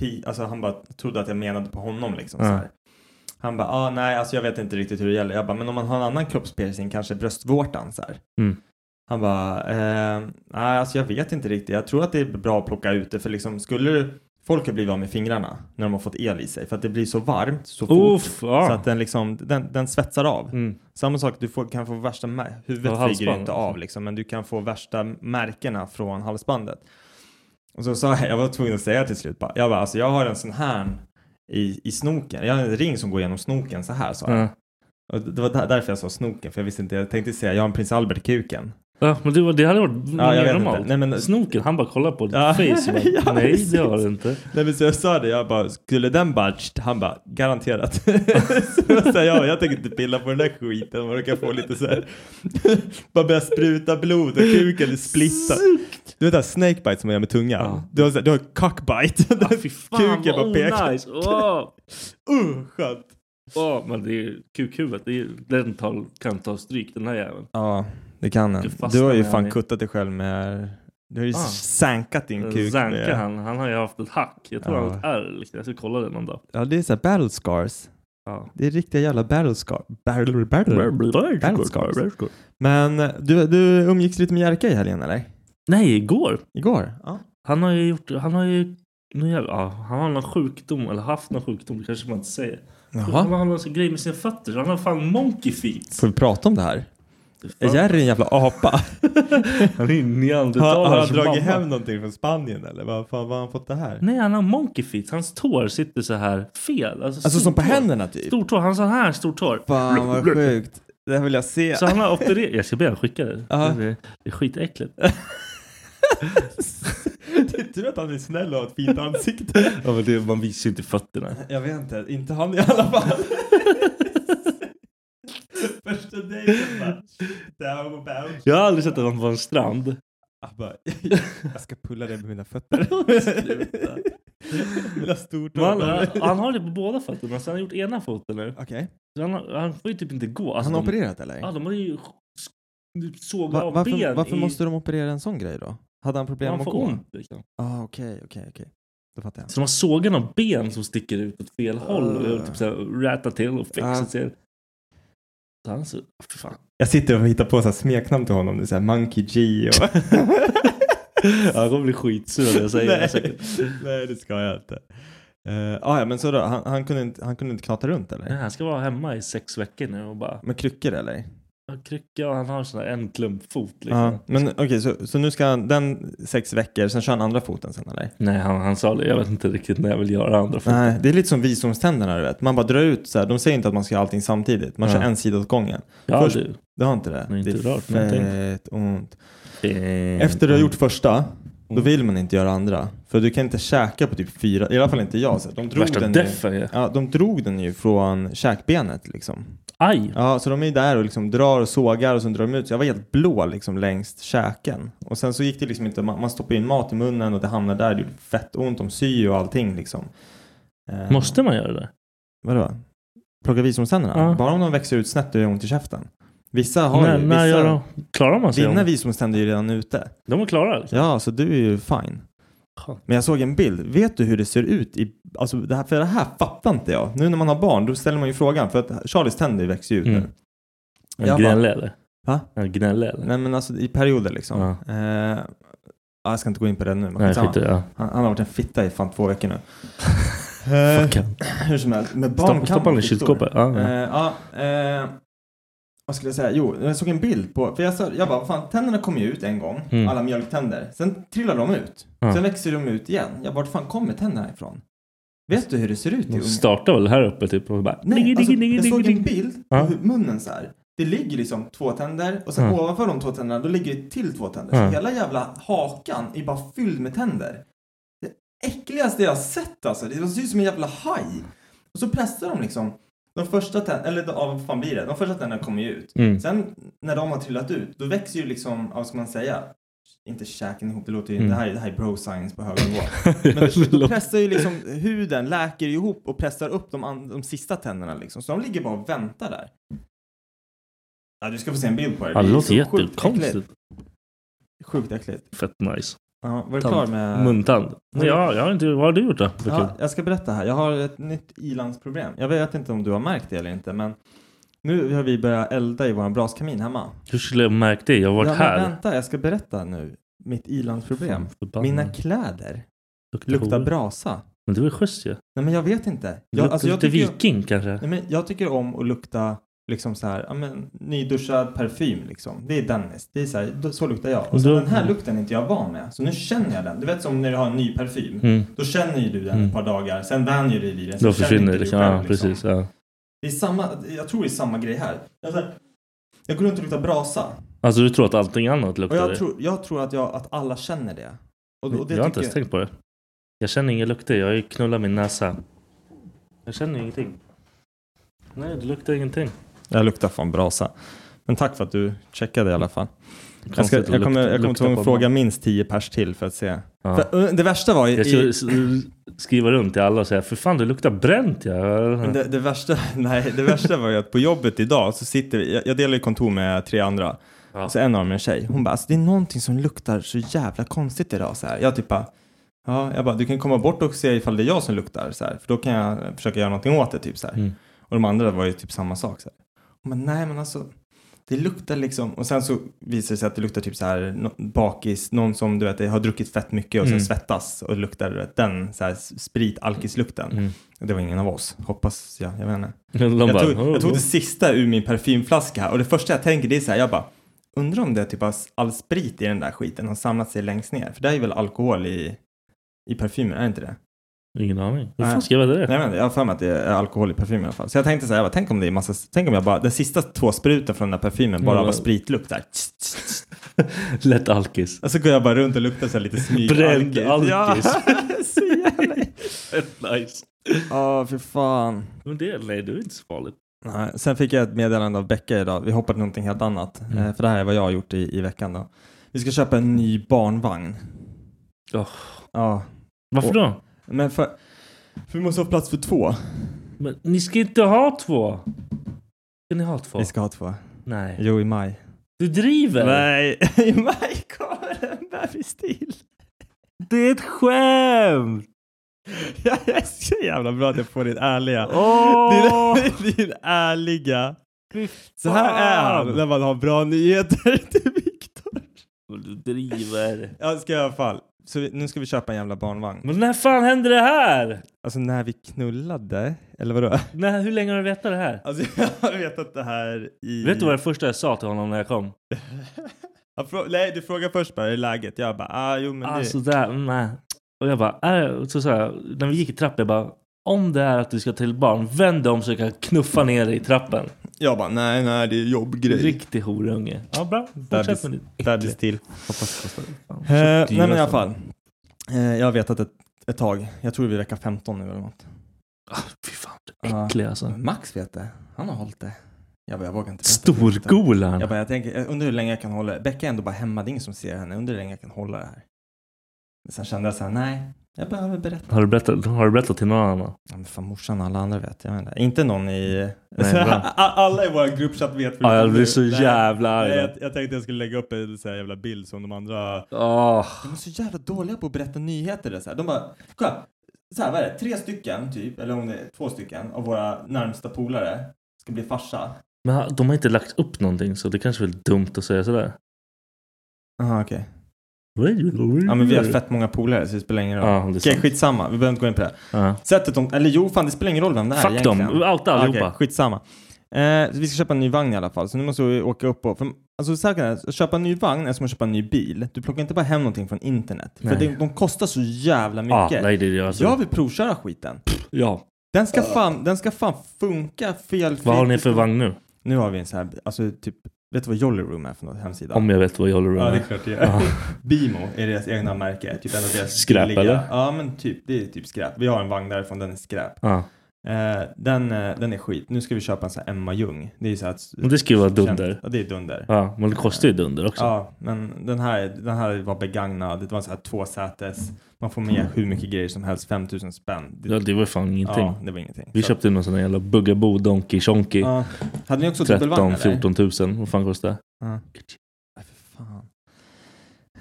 Speaker 2: pi, alltså, han bara trodde att jag menade på honom liksom.
Speaker 4: Ja.
Speaker 2: Så här. Han bara, ah, nej, alltså jag vet inte riktigt hur det gäller. Jag bara, men om man har en annan kroppspiercing, kanske bröstvårtan så här.
Speaker 4: Mm.
Speaker 2: Han "Ehm, bara, eh, nej, alltså jag vet inte riktigt. Jag tror att det är bra att plocka ut det, för liksom skulle du Folk har blivit av med fingrarna när de har fått el i sig för att det blir så varmt så fort
Speaker 4: Uff, ja.
Speaker 2: så att den, liksom, den, den svetsar av.
Speaker 4: Ah. Mm.
Speaker 2: Samma sak, du får, kan få värsta mär-
Speaker 4: Ja,
Speaker 2: huvudet flyger ju
Speaker 4: halsband. alltså.
Speaker 2: inte av liksom, men du kan få värsta märkena från halsbandet. Och så sa jag, jag var tvungen att säga till slut bara, jag bara, alltså jag har en sån här i, i snoken, jag har en ring som går genom snoken så här sa jag.
Speaker 4: Ja.
Speaker 2: Och det var där- därför jag sa snoken, för jag visste inte, jag tänkte säga jag har en prins Albert-kuken.
Speaker 4: Ja, men det, var, det hade varit
Speaker 2: Ja, jag vet
Speaker 4: normalt.
Speaker 2: inte. Nej, men-
Speaker 4: Snoken, han bara kollar på ditt
Speaker 2: Ja.
Speaker 4: face och bara,
Speaker 2: Ja,
Speaker 4: nej
Speaker 2: precis.
Speaker 4: det har det inte.
Speaker 2: Nej men så jag sa det, jag bara, skulle den bara, tsch?" han bara, garanterat. så jag sa ja, jag tänker inte pilla på den där skiten, man kan få lite så här, bara börja spruta blod och kuken splittar. Du vet det här snakebite som man gör med tungan?
Speaker 4: Ja.
Speaker 2: Du, har, så här- du har cockbite,
Speaker 4: Ah, fy fan
Speaker 2: kuken
Speaker 4: vad
Speaker 2: bara pekar.
Speaker 4: onajs. Åh,
Speaker 2: Uh, skönt.
Speaker 4: åh, men det är kukhuvudet, det är, den tar, kan ta stryk den här jäveln.
Speaker 2: Ja, det kan
Speaker 4: Du
Speaker 2: den.
Speaker 4: fastnar
Speaker 2: Du har ju
Speaker 4: med
Speaker 2: fan
Speaker 4: han i-
Speaker 2: kuttat dig själv med, du har ju
Speaker 4: Ah.
Speaker 2: sankat din kuk.
Speaker 4: Eh, Zanka
Speaker 2: med-
Speaker 4: han, han har ju haft ett hack. Jag tror
Speaker 2: Ja.
Speaker 4: han har ett ärr. Liksom. Jag ska kolla det någon dag.
Speaker 2: Ja, det är så här battle scars.
Speaker 4: Ja.
Speaker 2: Det är riktiga jävla battle scars. Battle, battle. battle scars. Men eh, du, du umgicks lite med Jerka i helgen eller?
Speaker 4: Nej, igår.
Speaker 2: Igår? Ja.
Speaker 4: Han har ju gjort, han har ju, nu jävlar, ja, han har någon sjukdom, eller haft någon sjukdom, det kanske man inte säger. Han har någon sån grej med sina fötter, så han har fan monkey feet.
Speaker 2: Får vi prata om det här? Är
Speaker 4: Fan.
Speaker 2: Jerry en jävla apa? alltså,
Speaker 4: Han är ju
Speaker 2: har, har han
Speaker 4: neandertalarens mamma.
Speaker 2: dragit hem någonting från Spanien eller? Vad fan vad har han fått det här?
Speaker 4: Nej, han har monkey feet. Hans tår sitter så här fel. Alltså,
Speaker 2: Alltså som på
Speaker 4: stortår.
Speaker 2: händerna typ?
Speaker 4: Stortår. Han sa här, stortår.
Speaker 2: Fan vad sjukt. Det här vill jag se.
Speaker 4: Så han har opererat. Jag ska be honom skicka det.
Speaker 2: Ja.
Speaker 4: Det är- Det är skitäckligt.
Speaker 2: Det är tur att han är snäll och har ett fint ansikte.
Speaker 4: Ja, men det, man visar ju inte fötterna.
Speaker 2: Jag vet inte, inte han i alla fall. Första dejten bara, down about.
Speaker 4: Jag har aldrig sett honom på en strand.
Speaker 2: Jag bara, jag ska pulla dig med mina fötter.
Speaker 4: Sluta.
Speaker 2: mina stortår.
Speaker 4: Man, han har det på båda fötterna, så han har gjort ena foten nu.
Speaker 2: Okej.
Speaker 4: Så Han, har- han får ju typ inte gå.
Speaker 2: Han
Speaker 4: Alltså,
Speaker 2: har
Speaker 4: de-
Speaker 2: opererat eller?
Speaker 4: Ja, de har ju sk- typ sågat
Speaker 2: Va-
Speaker 4: av
Speaker 2: varför
Speaker 4: ben.
Speaker 2: varför
Speaker 4: i,
Speaker 2: måste de operera en sån grej då? Hade han problem
Speaker 4: han
Speaker 2: med att
Speaker 4: får
Speaker 2: gå?
Speaker 4: ont. Liksom.
Speaker 2: Ah, okej, okej, okej. Då fattar jag.
Speaker 4: Så de har sågat av ben som sticker ut åt fel håll och typ såhär rätat till och fixat
Speaker 2: Ah.
Speaker 4: till. Så han så, fy fan.
Speaker 2: Jag sitter och hittar på så här smeknamn till honom nu, så här Monkey G och...
Speaker 4: Han kommer bli skitsur när jag säger det
Speaker 2: Nej.
Speaker 4: säkert.
Speaker 2: Nej, det ska jag inte. Uh, ah, ja, men så då, han, han, kunde inte, han kunde inte knata runt eller?
Speaker 4: Nej, han ska vara hemma i sex veckor nu och bara
Speaker 2: Med kryckor eller?
Speaker 4: han krycka och han har sån här en klumpfot liksom.
Speaker 2: Ja, men okej, så, så nu ska han den sex veckor, sen kör han andra foten sen eller?
Speaker 4: Nej, han, han sa det. Jag vet inte riktigt när jag vill göra andra foten.
Speaker 2: Nej, det är lite som visdomständerna du vet. Man bara drar ut så här, de säger inte att man ska göra allting samtidigt. Man kör
Speaker 4: Ja.
Speaker 2: en sida åt gången.
Speaker 4: ja,
Speaker 2: först-
Speaker 4: du.
Speaker 2: Det har inte det.
Speaker 4: Nej, inte
Speaker 2: det är
Speaker 4: rört någonting.
Speaker 2: fett ont. Efter du har gjort första,
Speaker 4: Mm.
Speaker 2: då vill man inte göra andra. För du kan inte käka på typ fyra, i alla fall inte jag. Så här, de drog
Speaker 4: Värsta
Speaker 2: den ju,
Speaker 4: deffen ju.
Speaker 2: Ja, de drog den ju från käkbenet liksom.
Speaker 4: Aj!
Speaker 2: Ja, så de är ju där och liksom drar och sågar och sen drar de ut. Så jag var helt blå liksom längs käken. Och sen så gick det liksom inte, man, man stoppar in mat i munnen och det hamnar där. Det gjorde fett ont, de syr och allting liksom. Eh,
Speaker 4: Måste man göra det?
Speaker 2: Vadå? Plocka visdomständerna?
Speaker 4: Ja.
Speaker 2: Bara om de växer ut snett och gör ont i käften. Vissa har
Speaker 4: när,
Speaker 2: ju,
Speaker 4: när
Speaker 2: vissa,
Speaker 4: gör de? Klarar man sig?
Speaker 2: dina
Speaker 4: om-
Speaker 2: visdomständer är ju redan ute.
Speaker 4: De är klara liksom.
Speaker 2: Ja, så du är ju fine.
Speaker 4: Skönt.
Speaker 2: Men jag såg en bild. Vet du hur det ser ut? I, alltså det här, för det här fattar inte jag. Nu när man har barn, då ställer man ju frågan. För att Charlies tänder växer ju ut
Speaker 4: Mm.
Speaker 2: nu.
Speaker 4: En
Speaker 2: Jag bara-
Speaker 4: gnälle eller?
Speaker 2: Va?
Speaker 4: En gnälle eller?
Speaker 2: Nej, men alltså i perioder liksom. Eh, ja, jag ska inte gå in på det nu. Men
Speaker 4: Nej,
Speaker 2: skitsamma.
Speaker 4: skit i det. ja.
Speaker 2: han, han har varit en fitta i fan två veckor nu. Eh,
Speaker 4: Fuck han.
Speaker 2: hur som helst, med barn
Speaker 4: Stoppa-
Speaker 2: kan
Speaker 4: Stoppa honom
Speaker 2: man
Speaker 4: i
Speaker 2: fittor.
Speaker 4: kylskåpet. Ja,
Speaker 2: Eh,
Speaker 4: ja.
Speaker 2: Ja, eh, vad skulle jag säga? Jo, jag såg en bild på, för jag, sa, jag bara, fan tänderna kom ju ut en gång,
Speaker 4: Mm.
Speaker 2: alla mjölktänder. Sen trillar de ut.
Speaker 4: Ja.
Speaker 2: Sen växer de ut igen. Jag bara, vart fan kommer tänderna ifrån? Vet du hur det ser ut
Speaker 4: De
Speaker 2: i ungen?
Speaker 4: startar väl här uppe typ och bara...
Speaker 2: Nej,
Speaker 4: diggi,
Speaker 2: alltså,
Speaker 4: diggi, diggi,
Speaker 2: jag
Speaker 4: diggi,
Speaker 2: såg
Speaker 4: diggi.
Speaker 2: en bild på
Speaker 4: Ja.
Speaker 2: hur munnen så här. Det ligger liksom två tänder och sen
Speaker 4: Ja.
Speaker 2: ovanför de två tänderna då ligger det till två tänder.
Speaker 4: Ja.
Speaker 2: Så hela jävla hakan är bara fylld med tänder. Det äckligaste jag har sett alltså. Det ser ut som en jävla haj. Och så pressar de liksom. De första tänderna, eller ja, vad fan blir det? De första tänderna kommer ju ut.
Speaker 4: Mm.
Speaker 2: Sen när de har trillat ut, då växer ju liksom, ja, vad ska man säga? Inte käken ihop, det låter ju,
Speaker 4: Mm.
Speaker 2: det, här, är- det här är bro science på hög nivå. Men då pressar ju liksom huden, läker ju ihop och pressar upp de, an- de sista tänderna liksom. Så de ligger bara och väntar där. Ja, du ska få se en bild på det.
Speaker 4: Ja, det
Speaker 2: är
Speaker 4: låter
Speaker 2: så sjukt äckligt.
Speaker 4: jättekonstigt.
Speaker 2: Sjukt äckligt.
Speaker 4: Fett nice.
Speaker 2: Ja, var du
Speaker 4: Tant.
Speaker 2: klar med...
Speaker 4: Muntand.
Speaker 2: Mm.
Speaker 4: Nej, ja, jag har inte... Vad har du gjort då? För
Speaker 2: Ja,
Speaker 4: kul?
Speaker 2: jag ska berätta här. Jag har ett nytt ilandsproblem. Jag vet inte om du har märkt det eller inte, men nu har vi börjat elda i vår braskamin hemma.
Speaker 4: Hur skulle jag märkt det? Jag har varit
Speaker 2: ja, men
Speaker 4: här.
Speaker 2: Vänta, jag ska berätta nu. Mitt ilandsproblem.
Speaker 4: Fan, förbannat.
Speaker 2: Mina kläder
Speaker 4: Luktar
Speaker 2: Luktar
Speaker 4: hora.
Speaker 2: brasa.
Speaker 4: Men det var ju schysst ju.
Speaker 2: Nej men jag vet inte. Jag,
Speaker 4: Luktar
Speaker 2: alltså, jag,
Speaker 4: lite
Speaker 2: tycker,
Speaker 4: viking kanske.
Speaker 2: nej, men jag tycker om att lukta liksom så här, ja, men, nyduschad parfym liksom. Det är Dennis. Det är så, här, då- så luktar jag. Och så
Speaker 4: Då-
Speaker 2: den här lukten är inte jag van med. Så nu känner jag den. Du vet som när du har en ny parfym.
Speaker 4: Mm.
Speaker 2: Då känner ju du den
Speaker 4: Mm.
Speaker 2: ett par dagar. Sen vänjer du dig vid den.
Speaker 4: Då
Speaker 2: så känner inte
Speaker 4: försvinner
Speaker 2: du
Speaker 4: det liksom.
Speaker 2: själv,
Speaker 4: Ja, precis. Ja.
Speaker 2: Det är samma, jag tror det är samma grej här. Jag, så här, jag går runt och luktar brasa.
Speaker 4: Alltså du tror att allting annat
Speaker 2: Och
Speaker 4: luktar
Speaker 2: jag
Speaker 4: det?
Speaker 2: tror, jag tror att, jag, att alla känner det. Och, och det
Speaker 4: jag har inte
Speaker 2: tycker
Speaker 4: ens tänkt på det. Jag känner inga lukter. Jag har ju knullat min näsa. Jag känner ingenting. Nej, det luktar ingenting.
Speaker 2: jag luktar fan brasa. Men tack för att du checkade i alla fall. Jag, ska,
Speaker 4: Konstigt att
Speaker 2: jag kommer,
Speaker 4: lukta-
Speaker 2: jag kommer
Speaker 4: lukta
Speaker 2: tvungen
Speaker 4: på
Speaker 2: att fråga
Speaker 4: mat.
Speaker 2: minst tio pers till för att se.
Speaker 4: Ja.
Speaker 2: För, eh, det värsta var ju...
Speaker 4: Jag ska
Speaker 2: I,
Speaker 4: s- skriva runt till alla och säga för fan det luktar bränt ja.
Speaker 2: men Mm. det, det, värsta, nej, det värsta var ju att på jobbet idag så sitter vi, jag, jag delar ju kontor med tre andra.
Speaker 4: Ja.
Speaker 2: Så en av dem är en tjej. Hon bara, alltså, det är någonting som luktar så jävla konstigt idag. Så här. Jag typ bara, ja, jag bara, du kan komma bort och se ifall det är jag som luktar. Så här. För då kan jag försöka göra någonting åt det. Typ, så här.
Speaker 4: Mm.
Speaker 2: Och de andra var ju typ samma sak. Så här. Hon bara, nej men alltså, det luktar liksom. Och sen så visar det sig att det luktar typ så här nå- bakis. Någon som du vet har druckit fett mycket och
Speaker 4: Mm.
Speaker 2: sen svettas. Och det luktar du vet, den så här, sprit, alkislukten.
Speaker 4: Mm.
Speaker 2: Och Det var ingen av oss, hoppas jag. Jag vet inte.
Speaker 4: De
Speaker 2: Jag
Speaker 4: bara,
Speaker 2: tog, jag tog
Speaker 4: "Oh."
Speaker 2: det sista ur min parfymflaska och det första jag tänker det är så här, jag bara undrar om det är typ all- all sprit i den där skiten har samlat sig längst ner. För det är ju väl alkohol i, i parfymer, är det inte det?
Speaker 4: Ingen aning. Hur
Speaker 2: Nej.
Speaker 4: fan ska jag veta det?
Speaker 2: Nej men jag har för mig att det är alkohol i parfymer i alla fall. Så jag tänkte så här, jag bara, tänk om det är massa, tänk om jag bara, den sista två spruten från den där parfymen bara
Speaker 4: Mm.
Speaker 2: var spritlukt där. Tss, tss, tss.
Speaker 4: Lätt alkis.
Speaker 2: Och så går jag bara runt och luktar så här lite smyg.
Speaker 4: Bränd alkis.
Speaker 2: Ja, så jävla...
Speaker 4: Fett nice.
Speaker 2: Ja, för fan.
Speaker 4: Men det, nej, det är inte så farligt.
Speaker 2: Nej, sen fick jag ett meddelande av Becka idag. Vi hoppade någonting helt annat.
Speaker 4: Mm.
Speaker 2: Eh, för det här är vad jag har gjort i, i veckan då. Vi ska köpa en ny barnvagn.
Speaker 4: Åh.
Speaker 2: Ja.
Speaker 4: Varför
Speaker 2: Och-
Speaker 4: då?
Speaker 2: Men för, för vi måste ha plats för två.
Speaker 4: Men ni ska inte ha två! Ska ni ha två?
Speaker 2: Vi ska ha två.
Speaker 4: Nej.
Speaker 2: Jo, i maj.
Speaker 4: Du driver!
Speaker 2: Nej, i maj kommer en bebis till.
Speaker 4: Det är ett skämt!
Speaker 2: Jag är så jävla bra att jag får ditt ärliga.
Speaker 4: Åh!
Speaker 2: Din, din ärliga.
Speaker 4: Fy
Speaker 2: Så här är han
Speaker 4: fan.
Speaker 2: när man har bra nyheter till Viktor.
Speaker 4: Du driver.
Speaker 2: Ja, ska jag i alla fall. Så vi, nu ska vi köpa en jävla barnvagn.
Speaker 4: Men när fan hände det här?
Speaker 2: Alltså när vi knullade, eller vadå?
Speaker 4: När, hur länge har du vetat det här?
Speaker 2: Alltså jag har vetat det här i...
Speaker 4: Vet du vad det första jag sa till honom när jag kom?
Speaker 2: Jag frå- Nej, du frågar först bara, hur är läget? Jag bara, ah jo men
Speaker 4: Alltså
Speaker 2: det...
Speaker 4: där, nej. Och jag bara, äh, så, så här, när vi gick i trappan, jag bara, om det är att du ska till barn, vänd dig om så jag kan knuffa ner dig i trappen.
Speaker 2: Jag bara, nej nej det är jobbgrej.
Speaker 4: Riktig horunge. Ja, bra.
Speaker 2: Bebis.
Speaker 4: Fortsätt med ditt
Speaker 2: Bebis till.
Speaker 4: Hoppas det kostar. Fan,
Speaker 2: Eh, nej
Speaker 4: så dyra
Speaker 2: men i alla
Speaker 4: som-
Speaker 2: fall. Eh, jag har vetat ett, ett tag. Jag tror vi är vecka 15 nu eller något.
Speaker 4: Ah, fy fan,
Speaker 2: Ja.
Speaker 4: äcklig alltså.
Speaker 2: Max vet det. Han har hållit det. Jag bara, jag vågar inte. berätta för Viktor.
Speaker 4: Storgolan.
Speaker 2: Jag bara, jag tänker, jag undrar hur länge jag kan hålla det. Becka är ändå bara hemma, det är ingen som ser henne. Jag undrar hur länge jag kan hålla det här. Men sen kände jag så här, nej, jag behöver berätta.
Speaker 4: Har du, berättat, har du berättat till någon annan?
Speaker 2: Ja, men fan morsan och alla andra vet. Jag vet inte. Inte någon i...
Speaker 4: Nej, bra.
Speaker 2: alla i vår gruppchatt vet.
Speaker 4: Ja, jag blir så
Speaker 2: Nej.
Speaker 4: jävla arg.
Speaker 2: Nej,
Speaker 4: då.
Speaker 2: jag, jag tänkte jag skulle lägga upp en sån här jävla bild som de andra...
Speaker 4: Åh.
Speaker 2: De är så jävla dåliga på att berätta nyheter. där, Så här. De bara, kolla. Så här, vad är det? Tre stycken typ, eller om det är två stycken av våra närmsta polare ska bli farsa.
Speaker 4: Men ha- de har inte lagt upp någonting så det kanske är väl dumt att säga sådär.
Speaker 2: Jaha,
Speaker 4: Mm.
Speaker 2: okej. Ja, men vi har fett många polare så det spelar ingen roll.
Speaker 4: Ja, det är
Speaker 2: okej,
Speaker 4: sant.
Speaker 2: skitsamma. Vi behöver inte gå in på det.
Speaker 4: Ja.
Speaker 2: Sättet de... Eller jo, fan det spelar ingen roll vem det är
Speaker 4: Fuck dem,
Speaker 2: egentligen.
Speaker 4: outa allihopa.
Speaker 2: Okej, skitsamma. Eh, vi ska köpa en ny vagn i alla fall, så nu måste vi åka upp och... För, alltså så här kan jag- att köpa en ny vagn är som att köpa en ny bil. Du plockar inte bara hem någonting från internet.
Speaker 4: Nej.
Speaker 2: För det, de kostar så jävla
Speaker 4: Ja,
Speaker 2: mycket.
Speaker 4: nej det är det alltså.
Speaker 2: Jag vill provköra skiten.
Speaker 4: Ja.
Speaker 2: Den ska fan, den ska fan funka felfritt.
Speaker 4: Vad har ni för vagn nu?
Speaker 2: Nu har vi en sån här, alltså typ, vet du vad Jolly Room är för något hemsida?
Speaker 4: Om jag vet vad jag håller
Speaker 2: Ja,
Speaker 4: på
Speaker 2: det är
Speaker 4: med.
Speaker 2: klart det gör.
Speaker 4: Ja.
Speaker 2: Bimo är deras egna märke. Typ en av deras
Speaker 4: Skräp,
Speaker 2: billiga-
Speaker 4: eller?
Speaker 2: Ja, men typ. Det är typ skräp. Vi har en vagn därifrån, den är skräp.
Speaker 4: Ja.
Speaker 2: Eh, den, eh, den är skit. Nu ska vi köpa en sån här Emma Ljung. Det är ju så att...
Speaker 4: Men det ska ju vara dunder.
Speaker 2: Ja, det är dunder.
Speaker 4: Ja, men det kostar ju dunder också.
Speaker 2: Ja, men den här, den här var begagnad. Det var så här tvåsätes. Man får med hur mycket grejer som helst. 5000 spänn. Det,
Speaker 4: Ja, det var fan ingenting.
Speaker 2: Ja, det var ingenting.
Speaker 4: Vi
Speaker 2: Så-
Speaker 4: köpte någon sån där jävla Bugaboo Donkey Chonky.
Speaker 2: Ja. Hade ni också dubbelvagn
Speaker 4: 13
Speaker 2: eller?
Speaker 4: 14 000. Vad fan kostar det?
Speaker 2: Ja. Nej, för fan.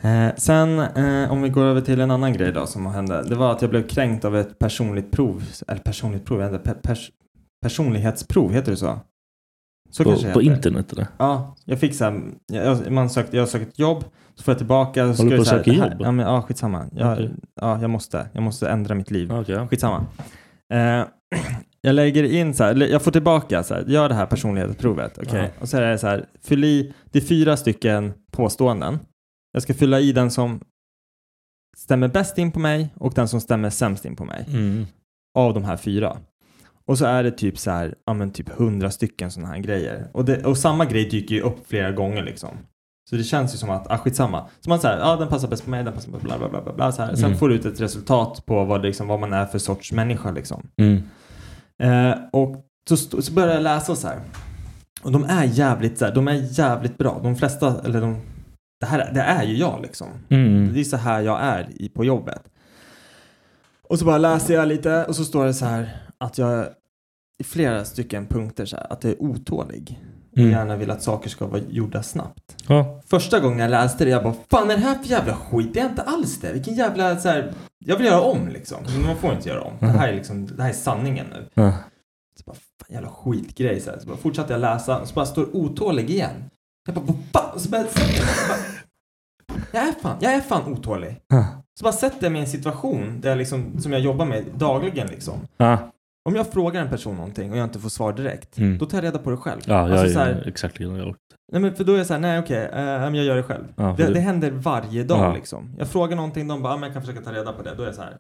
Speaker 2: Eh, sen eh, om vi går över till en annan grej då som hände. Det var att jag blev kränkt av ett personligt prov. Eller personligt prov, jag vet inte, pe- pers, personlighetsprov, heter det så? Så
Speaker 4: på,
Speaker 2: kanske det
Speaker 4: på
Speaker 2: heter.
Speaker 4: internet eller?
Speaker 2: Ja, jag fick så här, jag, jag- man sökte, jag sökte ett jobb, så får jag tillbaka. så
Speaker 4: Håller
Speaker 2: skrev
Speaker 4: du på
Speaker 2: så här,
Speaker 4: att söka
Speaker 2: det här-
Speaker 4: jobb?
Speaker 2: Ja, men, ja skitsamma. Jag,
Speaker 4: Okej.
Speaker 2: ja, jag, måste, jag måste ändra mitt liv.
Speaker 4: Okej. ja.
Speaker 2: Skitsamma. Eh, jag lägger in så här, jag får tillbaka så här, gör det här personlighetsprovet. okej?
Speaker 4: Ja.
Speaker 2: Och så är det så här, fyll i, det är fyra stycken påståenden. Jag ska fylla i den som stämmer bäst in på mig och den som stämmer sämst in på mig
Speaker 4: Mm.
Speaker 2: av de här fyra. Och så är det typ så här, ja men typ hundra stycken sådana här grejer. Och, det, och samma grej dyker ju upp flera gånger liksom. Så det känns ju som att, ah skitsamma. Så man säger, ja den passar bäst på mig, den passar bäst på bla bla bla bla. bla så här. Sen
Speaker 4: Mm.
Speaker 2: får du ut ett resultat på vad, liksom, vad man är för sorts människa liksom.
Speaker 4: Mm.
Speaker 2: Eh, och så, st- så började jag läsa så här. Och de är jävligt så här, de är jävligt bra. De flesta, eller de, det här det är ju jag liksom. Det
Speaker 4: Mm.
Speaker 2: är så här jag är i, på jobbet. Och så bara läser jag lite och så står det så här att jag i flera stycken punkter så här att jag är otålig. Och
Speaker 4: Mm.
Speaker 2: Gärna vill att saker ska vara gjorda snabbt.
Speaker 4: Ja.
Speaker 2: Första gången jag läste det jag bara fan är det här för jävla skit? Det är inte alls det. Vilken jävla så här. Jag vill göra om liksom. Men man får inte göra om. Det
Speaker 4: Mm.
Speaker 2: här är liksom, det här är sanningen nu.
Speaker 4: Ja.
Speaker 2: Så bara, fan jävla skitgrej så här. Så bara fortsatte jag läsa och så bara står otålig igen. Jag bara, vad fan? Och så bara, så bara, jag är fan, jag är fan otålig.
Speaker 4: Ja.
Speaker 2: Så bara sätter jag mig i en situation där jag liksom, som jag jobbar med dagligen liksom.
Speaker 4: Ja.
Speaker 2: Om jag frågar en person någonting och jag inte får svar direkt,
Speaker 4: Mm.
Speaker 2: då tar jag reda på det själv.
Speaker 4: Ja, jag
Speaker 2: alltså,
Speaker 4: är
Speaker 2: så här,
Speaker 4: exakt likadan. jag.
Speaker 2: nej, men för då är jag så här, nej okej, eh, men jag gör det själv.
Speaker 4: Ja, för
Speaker 2: det,
Speaker 4: du-
Speaker 2: det händer varje dag
Speaker 4: Ja.
Speaker 2: liksom. Jag frågar någonting, de bara, ah, men jag kan försöka ta reda på det. Då är jag så här,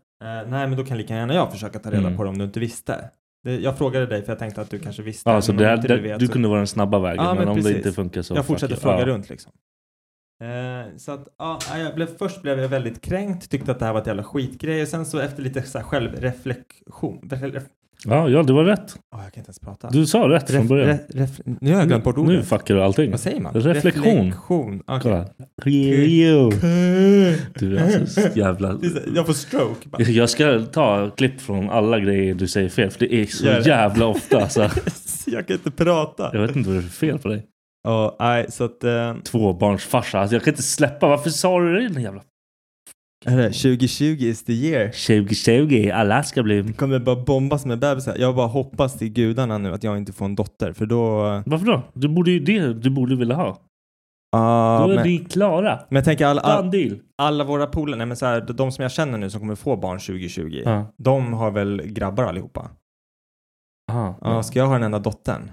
Speaker 2: eh, nej men då kan lika gärna jag försöka ta reda
Speaker 4: Mm.
Speaker 2: på det om du inte visste. Det, jag frågade dig för jag tänkte att du kanske visste.
Speaker 4: Ja, så
Speaker 2: men
Speaker 4: det
Speaker 2: om
Speaker 4: här,
Speaker 2: inte
Speaker 4: det,
Speaker 2: vet
Speaker 4: du
Speaker 2: så-
Speaker 4: kunde vara den snabba vägen,
Speaker 2: Ja,
Speaker 4: men,
Speaker 2: men
Speaker 4: om det
Speaker 2: precis.
Speaker 4: inte funkar så...
Speaker 2: jag fortsätter
Speaker 4: fuck it.
Speaker 2: fråga
Speaker 4: ja.
Speaker 2: runt liksom. Eh, så att, ja, jag blev, först blev jag väldigt kränkt, tyckte att det här var ett jävla skitgrej. Och sen så efter lite så här självreflektion. Ref,
Speaker 4: Ja, ja, det var rätt.
Speaker 2: oh, jag kan inte ens prata.
Speaker 4: Du sa rätt från
Speaker 2: Ref-
Speaker 4: början.
Speaker 2: ref- ref, nu har jag glömt bort ordet.
Speaker 4: Nu fuckar du allting.
Speaker 2: Vad säger man?
Speaker 4: Reflektion.
Speaker 2: Reflektion. Okej.
Speaker 4: Kolla. Rio. Du är alltså så jävla...
Speaker 2: Det är så här, Jag får stroke. Bara.
Speaker 4: Jag ska ta klipp från alla grejer du säger fel, för det är så
Speaker 2: Gör det.
Speaker 4: jävla ofta. Alltså.
Speaker 2: jag kan inte prata.
Speaker 4: Jag vet inte vad det är för fel på dig.
Speaker 2: Ja, nej, så att... eh,
Speaker 4: Tvåbarnsfarsa. Alltså, jag kan inte släppa. Varför sa du det? Den jävla...
Speaker 2: hörru, 2020 is the year.
Speaker 4: 2020. Alla ska bli...
Speaker 2: Kommer bara bombas med bebisar. Jag bara hoppas till gudarna nu att jag inte får en dotter, för då... eh,
Speaker 4: Varför då? Du borde ju det du borde vilja ha.
Speaker 2: ah,
Speaker 4: då är
Speaker 2: men-
Speaker 4: vi klara.
Speaker 2: Men jag tänker alla,
Speaker 4: Done
Speaker 2: all,
Speaker 4: deal.
Speaker 2: alla våra polare, nej men så här, de som jag känner nu som kommer få barn 2020,
Speaker 4: Ja.
Speaker 2: de har väl grabbar allihopa?
Speaker 4: Aha.
Speaker 2: Ja, ska jag ha den enda dottern?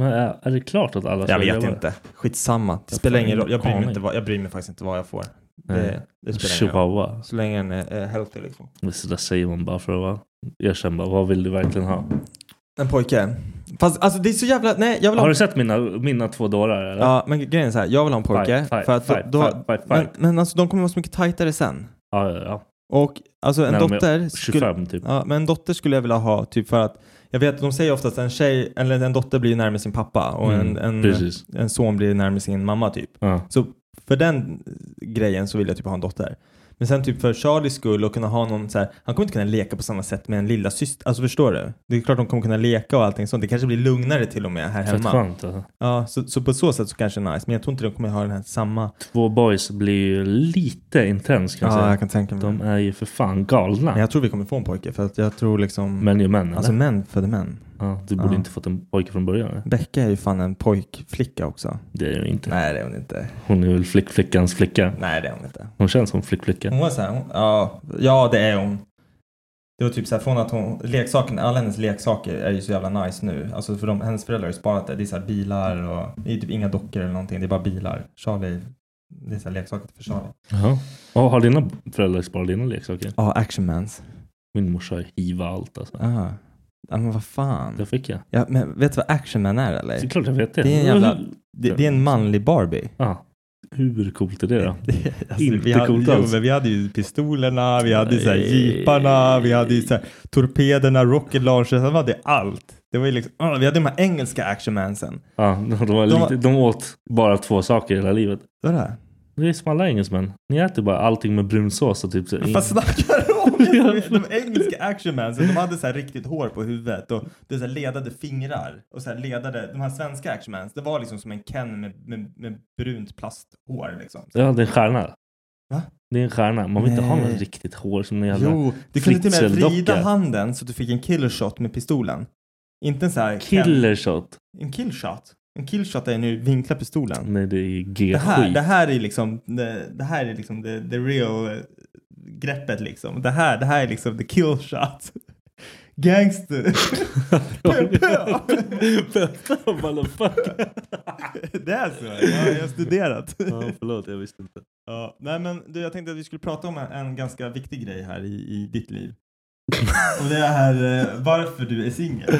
Speaker 4: Men är, är det klart att alla
Speaker 2: Jag
Speaker 4: ska
Speaker 2: vet
Speaker 4: leva?
Speaker 2: inte. Skitsamma. Det
Speaker 4: Jag
Speaker 2: spelar
Speaker 4: får
Speaker 2: ingen roll. Jag bryr, mig
Speaker 4: aning.
Speaker 2: inte vad, jag bryr mig faktiskt inte vad jag får.
Speaker 4: Nej.
Speaker 2: Det, det spelar ingen roll.
Speaker 4: Chihuahua.
Speaker 2: Så länge den är, är healthy liksom.
Speaker 4: Så där säger man bara för att vara... Erkänn bara. Vad vill du verkligen ha?
Speaker 2: En pojke. Fast alltså det är så jävla, nej jag vill ha
Speaker 4: Har du sett mina, mina två dårar? Eller?
Speaker 2: Ja, men grejen är så här, jag vill ha en pojke.
Speaker 4: Fight, fight,
Speaker 2: för att då,
Speaker 4: fight,
Speaker 2: då,
Speaker 4: fight, fight, fight.
Speaker 2: Men, men alltså de kommer vara så mycket tajtare sen.
Speaker 4: Ja, ja, ja.
Speaker 2: Och alltså en
Speaker 4: När de är
Speaker 2: dotter... skulle-
Speaker 4: 25 typ.
Speaker 2: Ja, men en dotter skulle jag vilja ha typ för att jag vet, de säger oftast att en tjej, eller en dotter blir ju närmare sin pappa och
Speaker 4: Mm,
Speaker 2: en, en,
Speaker 4: Precis.
Speaker 2: en son blir närmare sin mamma typ.
Speaker 4: Ja.
Speaker 2: Så för den grejen så vill jag typ ha en dotter. Men sen typ för Charlies skull och kunna ha någon så här, han kommer inte kunna leka på samma sätt med en lilla syster. Alltså förstår du? Det är klart de kommer kunna leka och allting sånt. Det kanske blir lugnare till och med här
Speaker 4: Fett
Speaker 2: hemma.
Speaker 4: skönt. Alltså.
Speaker 2: Ja, så, så på så sätt så kanske det är nice. Men jag tror inte de kommer ha den här samma...
Speaker 4: Två boys blir ju lite intens kan jag
Speaker 2: Ja,
Speaker 4: säga.
Speaker 2: jag kan tänka mig.
Speaker 4: De
Speaker 2: det.
Speaker 4: är ju för fan galna.
Speaker 2: Men Mm. jag tror vi kommer få en pojke för att jag tror liksom...
Speaker 4: Män är män eller?
Speaker 2: alltså män föder män.
Speaker 4: ja, du borde
Speaker 2: ja.
Speaker 4: inte fått en pojke från början. eller?
Speaker 2: Becka är ju fan en pojkflicka också.
Speaker 4: Det är ju inte.
Speaker 2: Nej det är hon inte.
Speaker 4: Hon är väl flickflickans flicka.
Speaker 2: Nej det är hon inte.
Speaker 4: Hon känns som flickflicka.
Speaker 2: Hon var såhär, hon, ja, ja det är hon. Det var typ såhär från att hon, leksaken, alla hennes leksaker är ju så jävla nice nu. Alltså för de, hennes föräldrar har ju sparat det. Det är såhär bilar och, det är typ inga dockor eller någonting. Det är bara bilar. Charlie, det är såhär leksaker för Charlie.
Speaker 4: Ja. Och har dina föräldrar sparat dina leksaker?
Speaker 2: Ja, actionmans.
Speaker 4: Min morsa hiva allt alltså.
Speaker 2: Ah. Ja men vad fan.
Speaker 4: Det fick jag.
Speaker 2: Ja, men vet du vad actionman är eller?
Speaker 4: Det är klart jag vet det.
Speaker 2: Det är en jävla- Det, det är en manlig Barbie.
Speaker 4: Ja. Hur coolt är det då?
Speaker 2: Alltså,
Speaker 4: Inte
Speaker 2: vi hade,
Speaker 4: coolt
Speaker 2: jo,
Speaker 4: alls.
Speaker 2: men vi hade ju pistolerna, vi hade ju så här
Speaker 4: Nej.
Speaker 2: jeeparna, vi hade ju så här torpederna, rocket launchers, vi hade allt. Det var ju liksom, ah, vi hade de här engelska actionmansen.
Speaker 4: Ja, de, var
Speaker 2: De-
Speaker 4: lite, de åt bara två saker hela livet.
Speaker 2: Vad är det här?
Speaker 4: Det är som alla engelsmän. Ni äter bara allting med brunsås och typ så.
Speaker 2: Vad fan snackar du om? De engelska actionmansen, de hade så här riktigt hår på huvudet och det så här ledade fingrar och så här ledade, de här svenska actionmans, det var liksom som en Ken med, med, med brunt plasthår liksom.
Speaker 4: Ja, det är en stjärna.
Speaker 2: Va?
Speaker 4: Det är en stjärna. Man vill inte ha
Speaker 2: Nej.
Speaker 4: något riktigt hår som en jävla...
Speaker 2: Jo, du kunde till och med vrida
Speaker 4: fritzeldocka.
Speaker 2: handen så att du fick en killshot med pistolen. Inte en så här...
Speaker 4: Killer shot.
Speaker 2: En killshot. En killshot är nu vinkla pistolen.
Speaker 4: Nej Mm, det är
Speaker 2: Det här,
Speaker 4: G-skit.
Speaker 2: det här är liksom, det, det här är liksom the, the real eh, greppet liksom. Det här, det här är liksom the kill shot. Gangster.
Speaker 4: Vänta motherfucker.
Speaker 2: det är så. Jag, jag har studerat.
Speaker 4: Ja förlåt jag visste inte.
Speaker 2: ja, nej men du, jag tänkte att vi skulle prata om en, en ganska viktig grej här i, i ditt liv. Och det är eh, varför du är singel.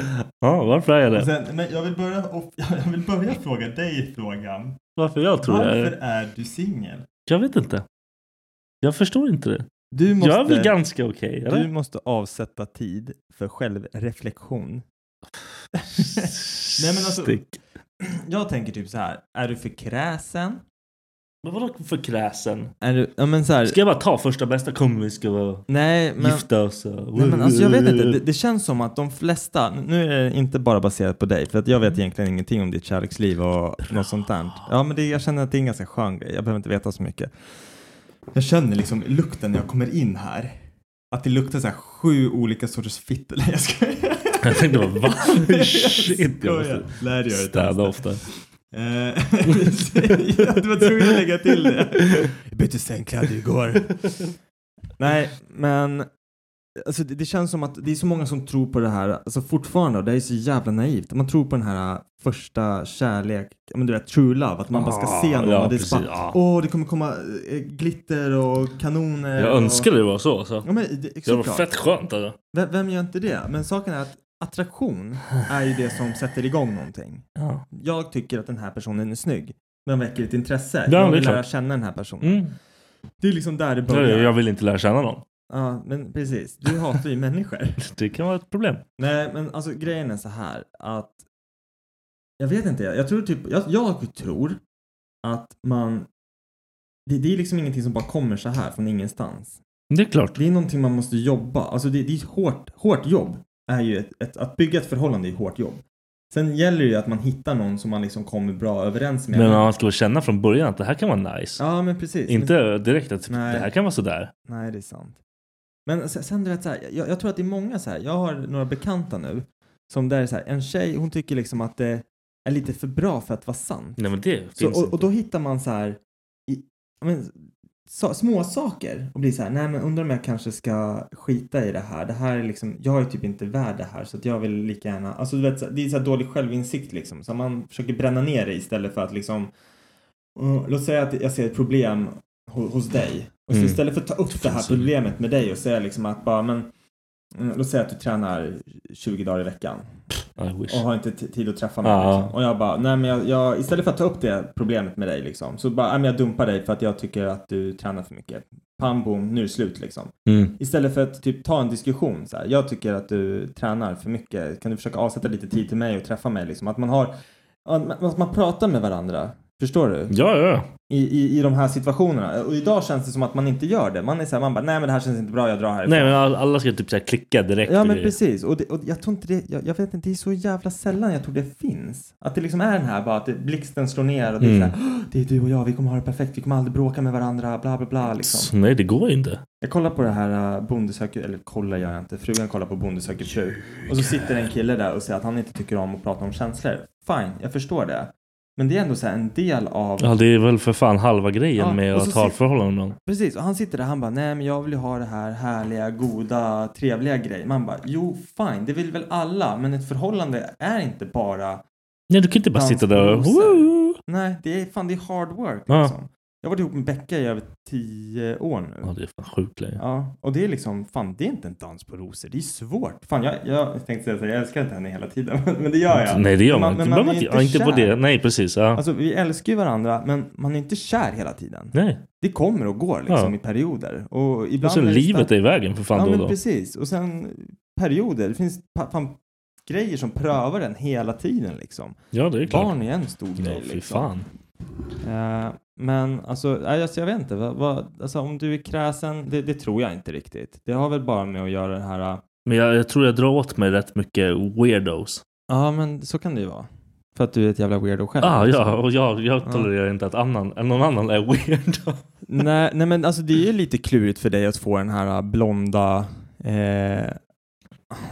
Speaker 4: Ja varför är jag
Speaker 2: Och
Speaker 4: det?
Speaker 2: sen- Men jag vill börja, och, jag vill börja fråga dig frågan.
Speaker 4: Varför jag tror jag är det?
Speaker 2: Varför är du singel?
Speaker 4: Jag vet inte. Jag förstår inte det.
Speaker 2: Du
Speaker 4: Jag är väl ganska okej
Speaker 2: Du
Speaker 4: eller?
Speaker 2: måste avsätta tid för självreflektion. Nej, men alltså-
Speaker 4: Stick.
Speaker 2: Jag tänker typ så här. Är du för kräsen?
Speaker 4: Men vadå för kräsen?
Speaker 2: Är du, ja men så här,
Speaker 4: Ska jag bara ta första bästa kom vi ska vara
Speaker 2: nej men,
Speaker 4: gifta oss? och-
Speaker 2: nej men alltså jag vet inte. Det, det känns som att de flesta, nu är det inte bara baserat på dig för att jag vet egentligen ingenting om ditt kärleksliv och något sånt där. Ja men det, jag känner att det är en ganska skön grej. Jag behöver inte veta så mycket. Jag känner liksom lukten när jag kommer in här. Att det luktar så här sju olika sorters fitta. Nej, Jag skojar.
Speaker 4: Jag tänkte bara va?
Speaker 2: Jag
Speaker 4: Shit jag
Speaker 2: skojar.
Speaker 4: måste
Speaker 2: Nej det gör jag inte.
Speaker 4: städa ofta.
Speaker 2: Eh, jag var tvungen att lägga till det. Jag bytte sängkläder igår. Nej, men alltså, det, det känns som att det är så många som tror på det här, alltså fortfarande, och det är så jävla naivt. Man tror på den här äh, första kärlek, ja, men du vet true love, att man bara ska
Speaker 4: Ah,
Speaker 2: se någon
Speaker 4: ja,
Speaker 2: och det är så
Speaker 4: precis,
Speaker 2: bara,
Speaker 4: ja.
Speaker 2: åh det kommer komma eh, glitter och kanoner.
Speaker 4: Jag
Speaker 2: och...
Speaker 4: önskar det var så alltså.
Speaker 2: Ja, men, det,
Speaker 4: Det var
Speaker 2: Mm, såklart.
Speaker 4: fett skönt alltså.
Speaker 2: Vem, vem gör inte det? Men saken är att attraktion är ju det som sätter igång någonting.
Speaker 4: Ja.
Speaker 2: Jag tycker att den här personen är snygg. Den väcker ett intresse.
Speaker 4: Ja,
Speaker 2: jag
Speaker 4: det är
Speaker 2: vill lära
Speaker 4: klart.
Speaker 2: känna den här personen.
Speaker 4: Mm.
Speaker 2: Det är liksom där det
Speaker 4: Jag,
Speaker 2: börjar. Ja,
Speaker 4: jag vill inte lära känna någon.
Speaker 2: men precis. Du hatar ju människor.
Speaker 4: Det kan vara ett problem.
Speaker 2: Nej, men alltså grejen är så här att jag vet inte. Jag tror typ, jag, jag tror att man det, det är liksom ingenting som bara kommer så här från ingenstans.
Speaker 4: Det är klart.
Speaker 2: Det är någonting man måste jobba. Alltså det, det är ett hårt, hårt jobb. Är ju ett, ett, att bygga ett förhållande är hårt jobb. Sen gäller det ju att man hittar någon som man liksom kommer bra överens med.
Speaker 4: Men man ska väl känna från början att det här kan vara nice.
Speaker 2: Ja, men precis.
Speaker 4: Inte direkt att typ,
Speaker 2: Nej.
Speaker 4: det här kan vara sådär.
Speaker 2: Nej, det är sant. Men sen, sen du vet, så här, jag, jag tror att det är många så här, jag har några bekanta nu som där är så här, en tjej, hon tycker liksom att det är lite för bra för att vara sant.
Speaker 4: Nej men det
Speaker 2: Så,
Speaker 4: finns
Speaker 2: och, och
Speaker 4: inte.
Speaker 2: då hittar man så här, i, ja, men, så, små saker och blir så här, nej men undrar om jag kanske ska skita i det här. Det här är liksom, jag är typ inte värd det här så att jag vill lika gärna, alltså du vet, så här, det är så här dålig självinsikt liksom. Så man försöker bränna ner det istället för att liksom, uh, låt säga att jag ser ett problem ho, hos dig. Och så
Speaker 4: Mm.
Speaker 2: istället för att ta upp det här
Speaker 4: Precis.
Speaker 2: problemet med dig och säga liksom att bara, men mm, Låt säga att du tränar 20 dagar i veckan
Speaker 4: I wish.
Speaker 2: och har inte t- tid att träffa mig.
Speaker 4: Ja.
Speaker 2: Liksom. Och jag bara, nej men jag, jag, istället för att ta upp det problemet med dig liksom, så bara, nej men jag dumpar dig för att jag tycker att du tränar för mycket. Pam, boom, nu är det slut liksom.
Speaker 4: Mm.
Speaker 2: Istället för att typ ta en diskussion så här, jag tycker att du tränar för mycket, kan du försöka avsätta lite tid till mig och träffa mig liksom? Att man har, att att man pratar med varandra. Förstår du?
Speaker 4: Ja, ja.
Speaker 2: I, i, I de här situationerna. Och idag känns det som att man inte gör det. Man är så här, man bara, nej men det här känns inte bra, jag drar härifrån.
Speaker 4: Nej men all- alla ska typ så här klicka direkt.
Speaker 2: Ja
Speaker 4: och
Speaker 2: men
Speaker 4: grejer.
Speaker 2: precis. Och, det, och jag tror inte det, jag, jag vet inte, det är så jävla sällan jag tror det finns. Att det liksom är den här bara att det, blixten slår ner och det är
Speaker 4: Mm.
Speaker 2: så här, "Åh, det är du och jag, vi kommer ha det perfekt, vi kommer aldrig bråka med varandra, bla bla bla
Speaker 4: Så
Speaker 2: liksom.
Speaker 4: Nej det går inte.
Speaker 2: Jag kollar på det här äh, Bonde söker, eller kollar gör jag inte, frugan kollar på Bonde söker fru. Och så sitter en kille där och säger att han inte tycker om att prata om känslor. Fine, jag förstår det. Men det är ändå så här en del av
Speaker 4: Ja det är väl för fan halva grejen
Speaker 2: Ja,
Speaker 4: med
Speaker 2: och
Speaker 4: att
Speaker 2: så
Speaker 4: ha
Speaker 2: sit-
Speaker 4: ett förhållande med någon.
Speaker 2: Precis, och han sitter där han bara nej men jag vill ju ha det här härliga, goda, trevliga grejer. Man bara jo fine, det vill väl alla men ett förhållande är inte bara
Speaker 4: Nej du kan inte bara
Speaker 2: Dans
Speaker 4: sitta där och...
Speaker 2: på
Speaker 4: Woo!
Speaker 2: nej det är fan det är hard work
Speaker 4: Ja.
Speaker 2: liksom. Jag har varit ihop med Becka i över tio år nu.
Speaker 4: Ja det är fan sjukt länge.
Speaker 2: Ja, och det är liksom, fan det är inte en dans på rosor, det är svårt. Fan jag, jag tänkte säga så här, jag älskar inte henne hela tiden men det gör jag.
Speaker 4: Nej det gör
Speaker 2: Men
Speaker 4: man,
Speaker 2: man-
Speaker 4: inte.
Speaker 2: men man
Speaker 4: Man, man
Speaker 2: är
Speaker 4: inte,
Speaker 2: inte
Speaker 4: ja, inte på
Speaker 2: kär.
Speaker 4: det. Nej precis. Ja.
Speaker 2: Alltså vi älskar ju varandra men man är inte kär hela tiden.
Speaker 4: Nej.
Speaker 2: Det kommer och går liksom
Speaker 4: Ja.
Speaker 2: i perioder. Och ibland
Speaker 4: Och sen
Speaker 2: är det
Speaker 4: livet
Speaker 2: starkt-
Speaker 4: är i vägen för fan
Speaker 2: Ja
Speaker 4: då och
Speaker 2: men
Speaker 4: då.
Speaker 2: precis. Och sen perioder. Det finns pa- fan grejer som prövar den hela tiden liksom.
Speaker 4: Ja det är klart.
Speaker 2: Barn är en stor grej
Speaker 4: Ja, fy
Speaker 2: liksom.
Speaker 4: fan.
Speaker 2: Eh, men alltså, nej, alltså, jag vet inte. Vad, vad, alltså, om du är kräsen, det, det tror jag inte riktigt. Det har väl bara med att göra det här. eh,
Speaker 4: Men jag, jag tror jag drar åt mig rätt mycket weirdos.
Speaker 2: Ja men så kan det ju vara. För att du är ett jävla weirdo själv.
Speaker 4: Ah,
Speaker 2: liksom.
Speaker 4: ja, och jag,
Speaker 2: Ja.
Speaker 4: jag tolererar inte att annan, att någon annan är weird.
Speaker 2: Nej, nej men alltså det är ju lite klurigt för dig att få den här eh, blonda eh,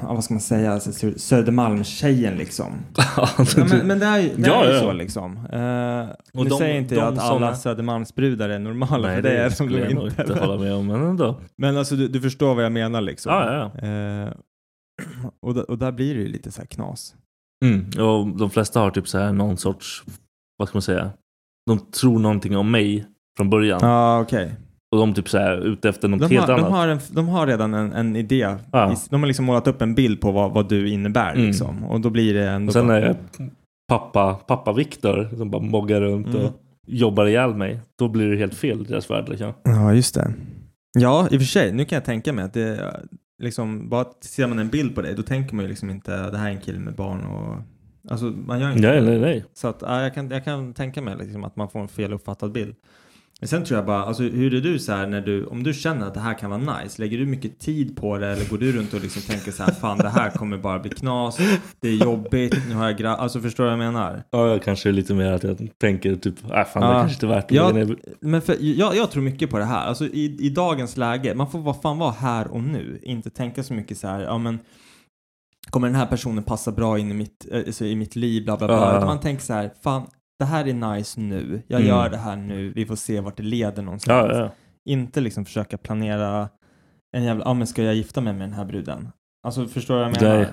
Speaker 2: ja, vad ska man säga, alltså, Sö- Södermalmstjejen liksom. Ja,
Speaker 4: Ja,
Speaker 2: men, men det är, ju- det
Speaker 4: Ja,
Speaker 2: är ju
Speaker 4: ja.
Speaker 2: så liksom. Eh,
Speaker 4: Och
Speaker 2: nu
Speaker 4: de-
Speaker 2: säger inte
Speaker 4: de
Speaker 2: jag att alla
Speaker 4: såna-
Speaker 2: Södermalmsbrudar är normala,
Speaker 4: Nej,
Speaker 2: för det,
Speaker 4: det,
Speaker 2: är
Speaker 4: skulle
Speaker 2: de
Speaker 4: jag
Speaker 2: nog
Speaker 4: nog
Speaker 2: inte.
Speaker 4: inte hålla med om. Men ändå.
Speaker 2: Men alltså du, du förstår vad jag menar liksom.
Speaker 4: Ja, ja,
Speaker 2: Eh, och, da- och där blir det ju lite så här knas.
Speaker 4: Mm. Och de flesta har typ så här någon sorts, vad ska man säga? De tror någonting om mig från början.
Speaker 2: Ja, ah, okej.
Speaker 4: Och de typ så här är ute efter något
Speaker 2: De,
Speaker 4: helt
Speaker 2: har- de,
Speaker 4: annat.
Speaker 2: har en- de har redan en, en idé.
Speaker 4: Ja.
Speaker 2: I s- De har liksom målat upp en bild på vad, vad du innebär
Speaker 4: Mm.
Speaker 2: liksom. Och då blir det ändå...
Speaker 4: Och sen
Speaker 2: bara-
Speaker 4: är jag pappa, pappa Viktor som bara moggar runt
Speaker 2: Mm.
Speaker 4: och jobbar ihjäl mig. Då blir det helt fel i deras värld. Liksom.
Speaker 2: Ja, just det. Ja, i och för sig. Nu kan jag tänka mig att det är liksom, bara att ser man en bild på dig, då tänker man ju liksom inte det här är en kille med barn och alltså man gör ju inte
Speaker 4: Nej,
Speaker 2: det.
Speaker 4: nej, nej.
Speaker 2: Så att, ja, jag, kan, jag kan tänka mig liksom att man får en feluppfattad bild. Men sen tror jag bara, alltså, hur är du så här när du, om du känner att det här kan vara nice, lägger du mycket tid på det eller går du runt och liksom tänker så här, fan det här kommer bara bli knas, det är jobbigt, nu har jag gra-" alltså förstår du vad jag menar?
Speaker 4: Ja, jag kanske är lite mer att jag tänker typ, äh, fan det
Speaker 2: Ja.
Speaker 4: kanske inte är värt att
Speaker 2: Ja.
Speaker 4: lägga ner.
Speaker 2: Men för, jag, jag tror mycket på det här. Alltså i, i dagens läge, man får vad fan vara här och nu. Inte tänka så mycket så här, ja men kommer den här personen passa bra in i mitt, eh, alltså, i mitt liv, bla bla bla.
Speaker 4: Ja.
Speaker 2: Utan Man tänker så här, fan det här är nice nu. Jag
Speaker 4: Mm.
Speaker 2: gör det här nu. Vi får se vart det leder någonstans.
Speaker 4: Ja, ja.
Speaker 2: Inte liksom försöka planera en jävla, ja men ska jag gifta mig med den här bruden? Alltså förstår du vad jag menar?
Speaker 4: Nej.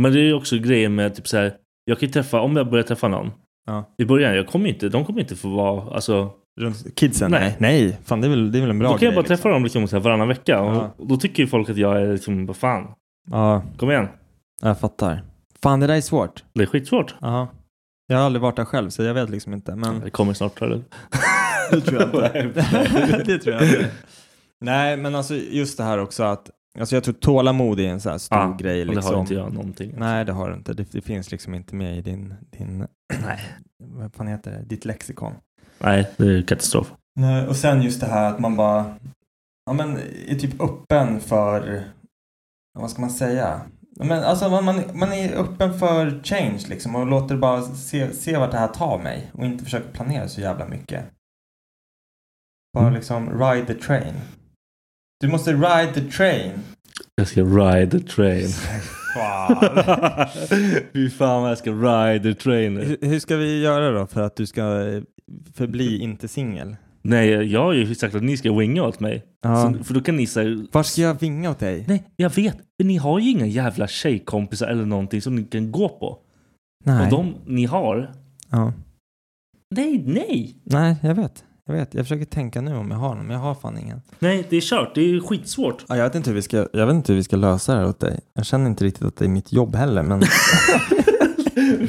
Speaker 4: Men det är ju också grejen med typ så här, jag kan ju träffa, om jag börjar träffa någon.
Speaker 2: Ja.
Speaker 4: I början, jag kommer ju inte, de kommer inte få vara, alltså.
Speaker 2: Runt kidsen?
Speaker 4: Nej.
Speaker 2: Nej. nej. Fan det är väl, det är väl en bra
Speaker 4: då kan
Speaker 2: grej.
Speaker 4: jag bara träffa
Speaker 2: liksom.
Speaker 4: dem liksom så här varannan vecka. Och,
Speaker 2: Ja.
Speaker 4: och då tycker ju folk att jag är liksom, vad fan,
Speaker 2: Ja,
Speaker 4: kom igen.
Speaker 2: jag fattar. Fan det där är svårt.
Speaker 4: Det är skitsvårt.
Speaker 2: Ja. Jag har aldrig varit där själv så jag vet liksom inte. Men
Speaker 4: Det kommer snart, tror du.
Speaker 2: det tror jag
Speaker 4: inte. Nej.
Speaker 2: det tror jag inte. Nej, men alltså just det här också att alltså jag tror tålamod är en så här stor
Speaker 4: Ja,
Speaker 2: grej.
Speaker 4: Och det
Speaker 2: Liksom.
Speaker 4: har inte jag någonting.
Speaker 2: Nej, det har du inte. Det, det finns liksom inte med i din, din vad fan heter det, ditt lexikon.
Speaker 4: Nej, det är katastrof.
Speaker 2: Nej, och sen just det här att man bara ja, men, är typ öppen för, ja, vad ska man säga? Ja, Men, alltså, man, man, man är öppen för change liksom och låter bara se, se vart det här tar mig och inte försöker planera så jävla mycket. Bara liksom ride the train. Du måste ride the train.
Speaker 4: Jag ska ride the train.
Speaker 2: Fan.
Speaker 4: Fy fan vad jag ska ride the train. nu.
Speaker 2: Hur ska vi göra då för att du ska eh, förbli inte singel?
Speaker 4: Nej, jag har ju sagt att ni ska winga åt mig.
Speaker 2: Ja.
Speaker 4: Så, för då kan ni säga...
Speaker 2: Var ska jag vinga åt dig?
Speaker 4: Nej, jag vet. Men ni har ju inga jävla tjejkompisar eller någonting som ni kan gå på. Och de ni har...
Speaker 2: Ja.
Speaker 4: Nej, nej!
Speaker 2: Nej, jag vet. Jag vet. Jag försöker tänka nu om jag har någon, men jag har fan ingen.
Speaker 4: Nej, det är kört. Det är skitsvårt.
Speaker 2: Ja, jag, vet inte hur vi ska, jag vet inte hur vi ska lösa det här åt dig. Jag känner inte riktigt att det är mitt jobb heller, men...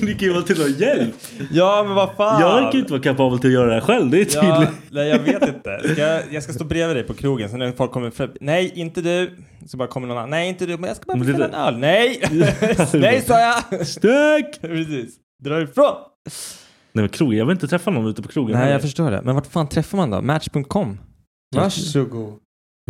Speaker 4: ni kan ju vara till någon hjälp.
Speaker 2: ja, men vad fan!
Speaker 4: Jag kan ju inte vara kapabel till att göra det här själv. Det är
Speaker 2: Ja,
Speaker 4: tydligt.
Speaker 2: nej, jag vet inte. Ska jag, jag ska stå bredvid dig på krogen, så när folk kommer fram... Nej, inte du! Så bara kommer någon annan. Nej, inte du, men jag ska bara
Speaker 4: Men det
Speaker 2: beställa
Speaker 4: där-
Speaker 2: en öl. Nej! nej, sa jag!
Speaker 4: Stök!
Speaker 2: Precis. Dra ifrån!
Speaker 4: Nej men krog, jag vill inte träffa någon ute på krogen.
Speaker 2: Nej, jag förstår det. Men vart fan träffar man då? Match.com? Varsågod.